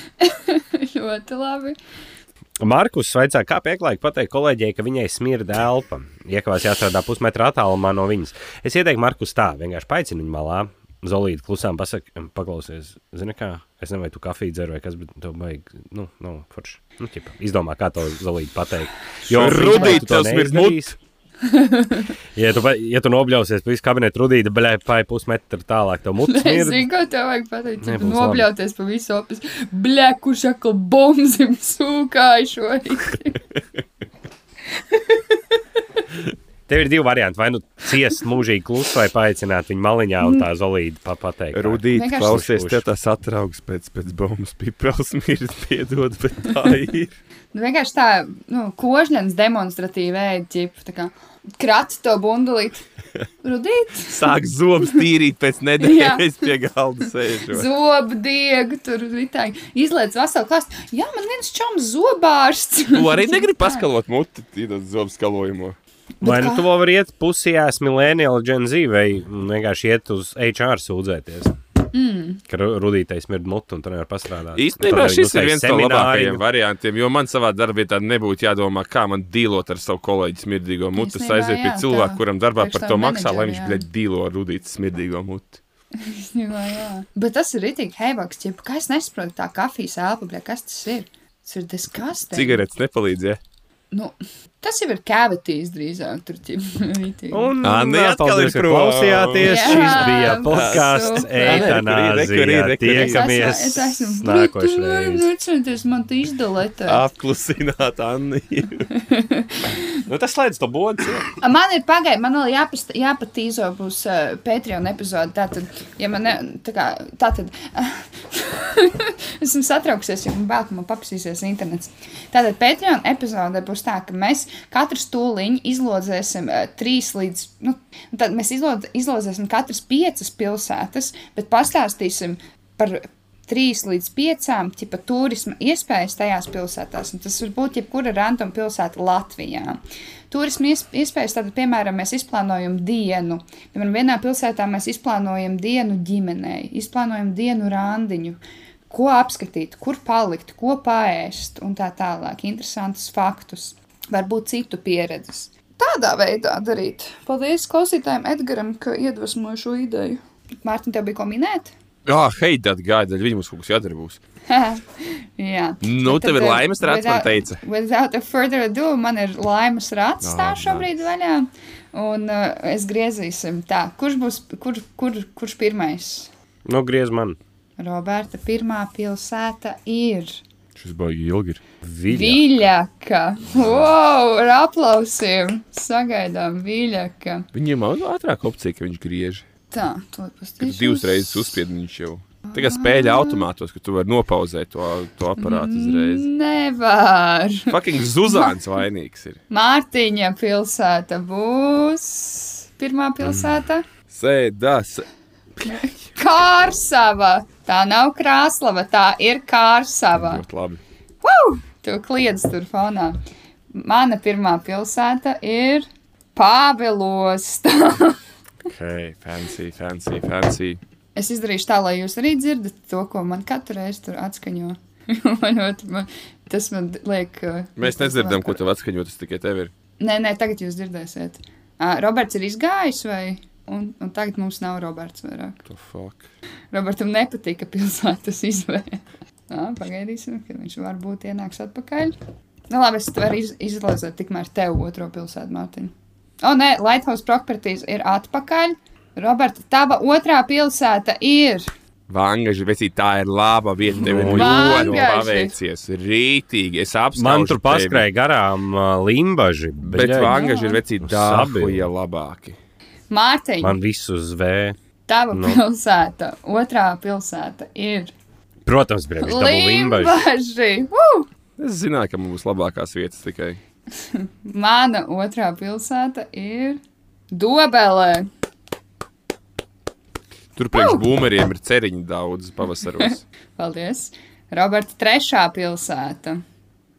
A: ļoti labi.
B: Markus sveicā, kā pieklājīgi pateikt kolēģei, ka viņai smirda elpa. Iekavās jāstrādā pusmetra attālumā no viņas. Es ieteiktu Markus tā, vienkārši paicinu viņu malā. Zolīti klusām pasaka, "Em, paklausies, zini kā, es nezinu, vai tu kafiju dzer vai kas, bet tev vajag, nu, nu, forši. Nu, ķipa, izdomā, kā to zolīti pateikt. Jo,
C: Rudīt,
B: principā, tu to
C: tev smird
B: neizdarīsi. ja, tu, pa- ja tu nobļausies pa visu kabinetu rudīti, bļai, pai pusmetru tālāk, tev
A: [laughs]
B: mutes
A: Es
B: smird.
A: zinu, ko tev vajag pateikt.
B: Nē,
A: Tikai
B: būs labi.
A: nobļauties pa visu opisu. Blē, kurš atkal bombzim sūkāju šorīt.
B: Tev ir divi varianti, vai nu ciest mūžīgi klusu vai paaicināt viņu maliņā un tā zolīti pa- pateikt. tā.
C: Rudīt,
A: Vienkārši-
B: Puš,
C: klausies,
B: puš.
C: tev tas atraugs pēc, pēc bombas [laughs] piprals mirs, piedod, bet tā ir.
A: Nu, vienkārši tā, nu, kožņens demonstratīvi ēd, ģip, tā kā krat to
B: [laughs]
A: bundulīt. Rudīt,
C: Sāk zobs tīrīt pēc nedēļas pie galda sēžot.
A: zobdiegu, tur vitāji. Izliec veselu klāstu. Jā, man viens čoms zobārsts. [laughs]
C: Tu arī negribi paskalot muti, tīdot zobu skalojumu.
B: Vai nu
A: kā?
B: tu vēl vari iet pusē, mileniāla ģenzi, vai vienkārši iet uz HR sūdzēties? Mm. Ka ru- rudītais mird mutu un tur nevar pastrādāt.
C: Īstenībā
B: Tad nu,
C: šis ir
B: tai
C: viens no labākajiem
B: semināriem.
C: variantiem, jo man savā darbvietā nebūtu jādomā, kā man dīlot ar savu kolēģi smirdīgo muti. Es
A: Īstenībā,
C: aizietu pie
A: jā,
C: cilvēka,
A: tā.
C: kuram darbā
A: Priekš
C: par
A: tā
C: to maksā, lai
A: menedžera,
C: viņš
A: jā.
C: blēdi dīlo ar rudītu smirdīgo muti.
A: Jā, jā. Bet tas ir rītīgi heibaks, ģip, kā es nesaprotu tā kafijas elpa, blē, kas tas ir? Tas ir disgusting.
C: Cigaretes nepalīdzēja.
A: Nu, tas jau ir cavitīs drīzāk. Tur [laughs] jau
B: Un
E: Anni
B: ā,
E: atkal
B: paldies,
E: ir
B: ka
E: prom.
A: Jā,
B: klausījāties. Šis bija podkāsts
A: super.
E: Re, re,
B: Eitanāzija.
E: re, re, re, re.
B: Tiekamies
A: Es esmu
B: nākošais reizes.
A: Atcerieties, man te izdalēta.
E: Apklusināt, Anni.
C: [laughs]
B: Nu, tas slēdz to bodzi.
A: Man ir pagaidiet, man vēl jāpast, jāpatīzo būs uh, Patreon epizode. Tātad, ja man ne, tā kā, tātad, [laughs] esmu satraukusies, jo man vēl man papasīsies internets. Tātad Patreon epizode būs tā, ka mēs katru stūliņu izlodzēsim uh, trīs līdz, nu, tad mēs izlodz, izlodzēsim katras piecas pilsētas, bet pastāstīsim par trīs līdz piecām tipa, turisma iespējas tajās pilsētās. Un tas var būt jebkura random pilsēta Latvijā. Turisma iesp- iespējas, tad, piemēram, mēs izplānojam dienu. Piemēram, vienā pilsētā mēs izplānojam dienu ģimenei, izplānojam dienu randiņu. Ko apskatīt, kur palikt, ko pāēst un tā tālāk. Interesantus faktus, varbūt citu pieredzes. Tādā veidā darīt. Paldies klausītājiem Edgaram, ka iedvesmoju šo ideju. Mārtiņ, tev bija ko minēt?
C: Jā, hei, tad gaida, viņam mums kaut kas jādara būs.
A: Jā.
E: Nu, tev ir
A: Tātad,
E: laimes rāts, man
A: without-
E: teica.
A: Without a further ado, man ir laimes rāts tā šobrīd vaļā. Un uh, es griezīsim tā, kurš būs, kur, kur, kurš pirmais?
B: Nu, griez man.
A: Roberta pirmā pilsēta ir
C: Šis baigi ilgi ir.
B: Viļa.
A: Viļaka. Wow, ar aplausiem. Sagaidām Viļaka.
C: Viņam ir nu, ātrāk opcija, ka viņš griež.
A: Tā, to
C: Kad
A: pastīšu.
C: tu divas reizes uzspied viņš jau. Tagad spēļu automātos, ka tu vari nopauzēt to, to aparātu uzreiz.
A: Nevar.
C: Fucking Zuzāns vainīgs ir.
A: Mārtiņa pilsēta būs pirmā
E: Mm.
A: pilsēta.
C: Sēdās.
A: Kārsava. Tā nav krāslava, tā ir kārsava.
C: Ļoti labi.
A: Wow! Tu kliedz tur fonā. Mana pirmā pilsēta ir Pāvelosta.
C: Ok, fancy, fancy, fancy.
A: [laughs] es izdarīšu tā, lai jūs arī dzirdat to, ko man katru reizi tur atskaņo. [laughs] man ļoti, man, tas man liek. uh,
C: Mēs nedzirdam, ko tev atskaņo, tas tikai tev ir.
A: Nē, nē, tagad jūs dzirdēsiet. Uh, Roberts ir izgājis vai? Un, un tagad mums nav Roberts vairāk.
C: The fuck.
A: Robertam nepatīk, ka pilsētas izvēle. [laughs] Nā, Pagaidīsim, kad viņš varbūt ienāks atpakaļ. Nu, labi, es varu iz izlozēt tikmēr tev otro pilsētu, Mārtiņ. O, nē, Lighthouse Properties ir atpakaļ. Roberta, tava otrā pilsēta ir.
C: Vangaži, bet tā ir laba vieta. Tev ir
B: Nu,
C: ļoti
A: Vangaži.
C: paveicies. Rītīgi. Es apskaužu.
B: Man tur
C: tevi.
B: paskrēja garām uh, limbaži.
C: Bet
B: bļaigi.
C: vangaži ir
B: Nu,
C: vecīti
B: Sabi.
C: dabuja labāki.
A: Mārtiņ, Man...
B: Man viss uz V.
A: tava
B: Nu.
A: no. pilsēta, otrā pilsēta ir.
B: Protams, bija limbaži.
A: Limbaži! Woo!
C: Es zināju, ka mums būs labākās vietas tikai.
A: Mana otrā pilsēta ir Dobelē.
C: Tur priekš būmeriem ir ceriņi daudz pavasaros.
A: Paldies! Roberta trešā pilsēta.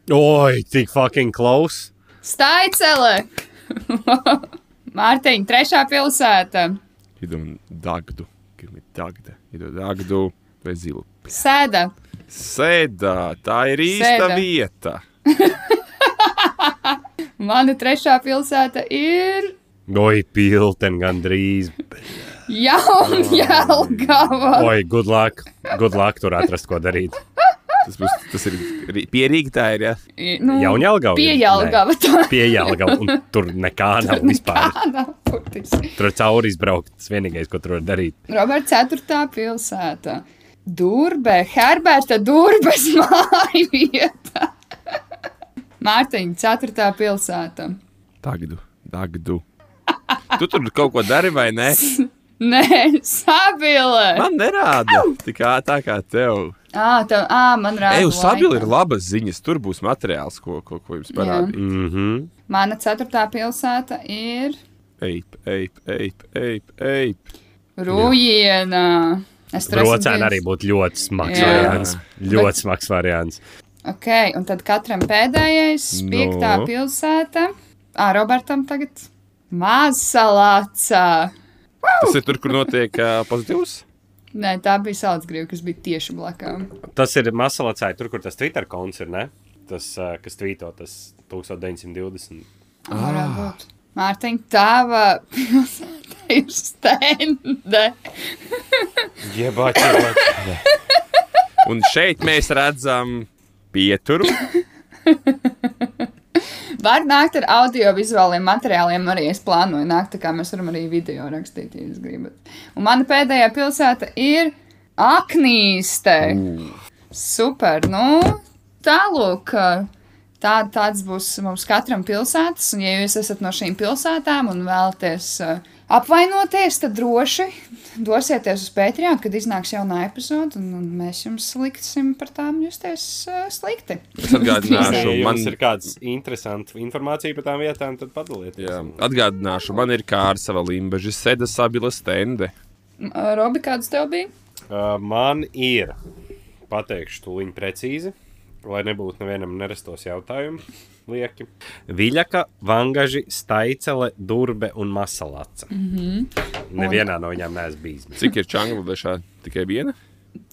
B: Oi, tik fucking close.
A: Staicele! [laughs] Mārtiņa, trešā pilsēta.
C: Idom dagdu. Gribu dagdu. Idom dagdu vai zilu.
A: Sēda.
C: Sēdā, tā ir īsta
A: Sēdā.
C: vieta.
A: Mana trešā pilsēta ir
B: Oi, pilten gandrīz.
A: Jaunjēlgava.
B: Oi, good luck. Good luck tur atrast, ko darīt.
C: Tas, būs, tas ir Rī- pie Rīgas. Tā ir. Ja?
A: Nu,
B: Jaunjelgava ir?
A: Pie Jaunjēlgava. Tā
B: Pieejama, un tur nekā nav
A: [laughs]
B: vispār.
A: tā nav burtiski.
B: Tur cauri izbraukt. Tas vienīgais, ko tur var darīt.
A: Roberta ceturtā pilsēta. Durbe, Herberta Durbes [laughs] mājvieta. Mārtiņa, ceturtā pilsēta.
C: Dagdu, dagdu. Tu tur kaut ko dari vai nē?
A: Nē, Sabile.
C: Man nerāda. Tikā tā kā tev.
A: Ā, tev, ā, man rāda.
C: Ej, uz sabili
A: laikā.
C: ir labas ziņas. Tur būs materiāls, ko, ko, ko jums parādīja.
B: Mhm.
A: Mana ceturtā pilsēta ir
C: Ej, ej, ej, ej, ej.
A: Rūjiena. Es tur esmu
B: Brocēna arī
A: bijusi.
B: būtu ļoti smags
A: Jā.
B: variants. Ļoti smags variants.
A: Ok, un tad katram pēdējais,
C: Nu.
A: piektā no. pilsēta. Ā, Robertam tagad Mazsalācā.
C: Tas ir tur, kur notiek uh, pozitīvs.
A: Nē, tā bija saldsgrīva, kas bija tieši blakām.
B: Tas ir Maslacāja, tur, kur tas Twitter konts ir, ne? Tas, uh, kas tvīto, tas 1920.
A: Ah. Mārtiņ, tava [laughs] pilsēta ir stende.
C: Un šeit mēs redzam pieturu.
A: Var nākt ar audio-vizuāliem materiāliem, arī es plānoju nākt, tā kā mēs varam arī video rakstīt, ja jūs gribat. Un mana pēdējā pilsēta ir Aknīste. Super, nu, tālūk. Tā, tāds būs mums katram pilsētas, un ja jūs esat no šīm pilsētām un vēlaties uh, apvainoties, tad droši dosieties uz Patreon, kad iznāks jaunā epizode, un, un mēs jums liksim par tām justies uh, slikti.
C: Es atgādināšu,
B: Ja
C: man
B: jums ir kāds interesants informācija par tām vietām, tad padalieties.
C: Jā,
B: Jā.
C: atgādināšu, man ir kāda sava limbaģa, sēde sabila stende.
A: M- Robi, kāds tev bija?
B: Uh, man ir, pateikšu, tūlīt precīzi, lai nebūtu nevienam nerastos jautājumu. Lieki. Viļaka, Vangaži, Staicele, Durbe un Masalaca. Mm -hmm. Nevienā no viņām neesmu bijis.
C: Cik ir Čangladešā? Tikai viena?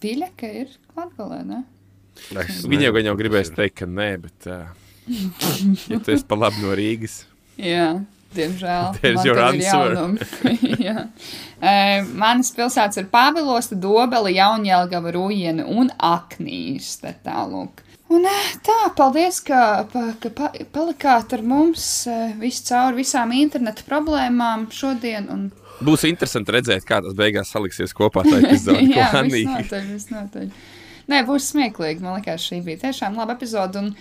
A: Tīļa, ka ir Latvijā, ne?
C: Viņa jau, gan jau gribēs teikt, ka nē, bet. Uh, ja tu esi pa labi no Rīgas,
A: Jā, diemžēl.
C: [laughs] There's
A: man
C: your
A: tagad ir
C: answer.
A: jaunumi. [laughs] Jā. Eh, Manas pilsētas ir Pāvilosta, Dobela, Jaunjēlgava, Rūjiena un Aknīste. Tālūk. Un eh, tā, paldies, ka, pa, ka pa, palikāt ar mums eh, visu cauri visām internetu problēmām šodien. Un,
C: būs interesanti redzēt, kā tas beigās saliksies kopā.
A: [laughs]
C: Tā epizode
A: jā, viss
C: plānīgi.
A: noteikti, viss noteikti. Nē, būs smieklīgi. Man liekas, šī bija tiešām laba epizode. Un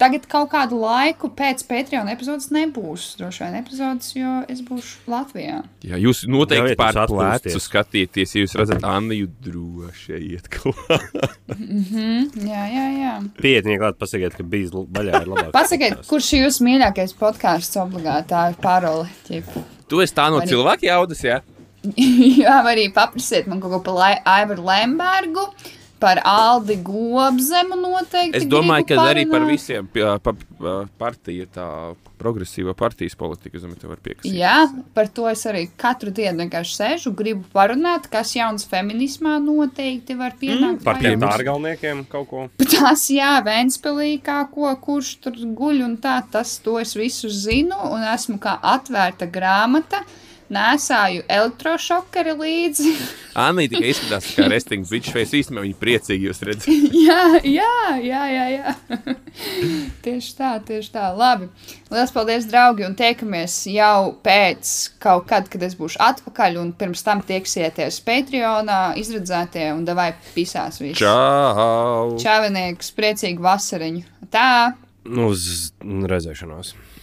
A: tagad kaut kādu laiku pēc Patreon epizodes nebūs droši vien epizodes, jo es būšu Latvijā.
C: Jā, jūs noteikti
B: Ļaujiet
C: pār
B: mums atpūsties.
C: plecu skatieties, ja jūs redzat Anniju droši iet klāt.
A: Jā, jā, jā.
B: Pietiņā klāt, pasakiet, ka bijis l- baļā ir labāk.
A: Pasakiet, kurš ir jūsu mīļākais podkāsts obligāti? Tā ir parole. ķip.
C: [laughs]
A: [laughs]
C: Tu esi tā no
A: Vai ne?
C: cilvēka jaudas, jā?
A: jā, vai arī paprasiet man kaut ko par Lai- Aivaru Lembergu, par Aldi Gobzemu noteikti.
C: Es domāju,
A: gribu
C: ka arī par
A: parunāt.
C: visiem pa, pa, pa, partiju, tā progresīvā partijas politika, es domāju, te var piekrist.
A: Jā, par to es arī katru dienu vienkārši sēžu, gribu parunāt, kas jauns feminismā noteikti var pienākt.
B: Par tiem
A: klajā.
B: tārgalniekiem kaut ko.
A: Tas, jā, Vēnspēlī, kā ko, kurš tur guļ un tā, tas to es visu zinu, un esmu kā atvērta grāmata. Nēsāju elektrošokeri līdzi. [laughs]
C: Anija tikai izskatās kā resting bitch face. Īstenībā viņa priecīgi jūs
A: [laughs]
C: redzat.
A: jā, jā, jā, jā. jā. [laughs] tieši tā, tieši tā. Labi. Lielas paldies, draugi, un tiekamies jau pēc kaut kad, kad es būšu atpakaļ, un pirms tam tieksieties Patreonā, izredzētie un davai pisās visi.
C: Čau! Nu,
A: Čāvinieks, priecīgu vasariņu. Tā!
B: Uz redzēšanos.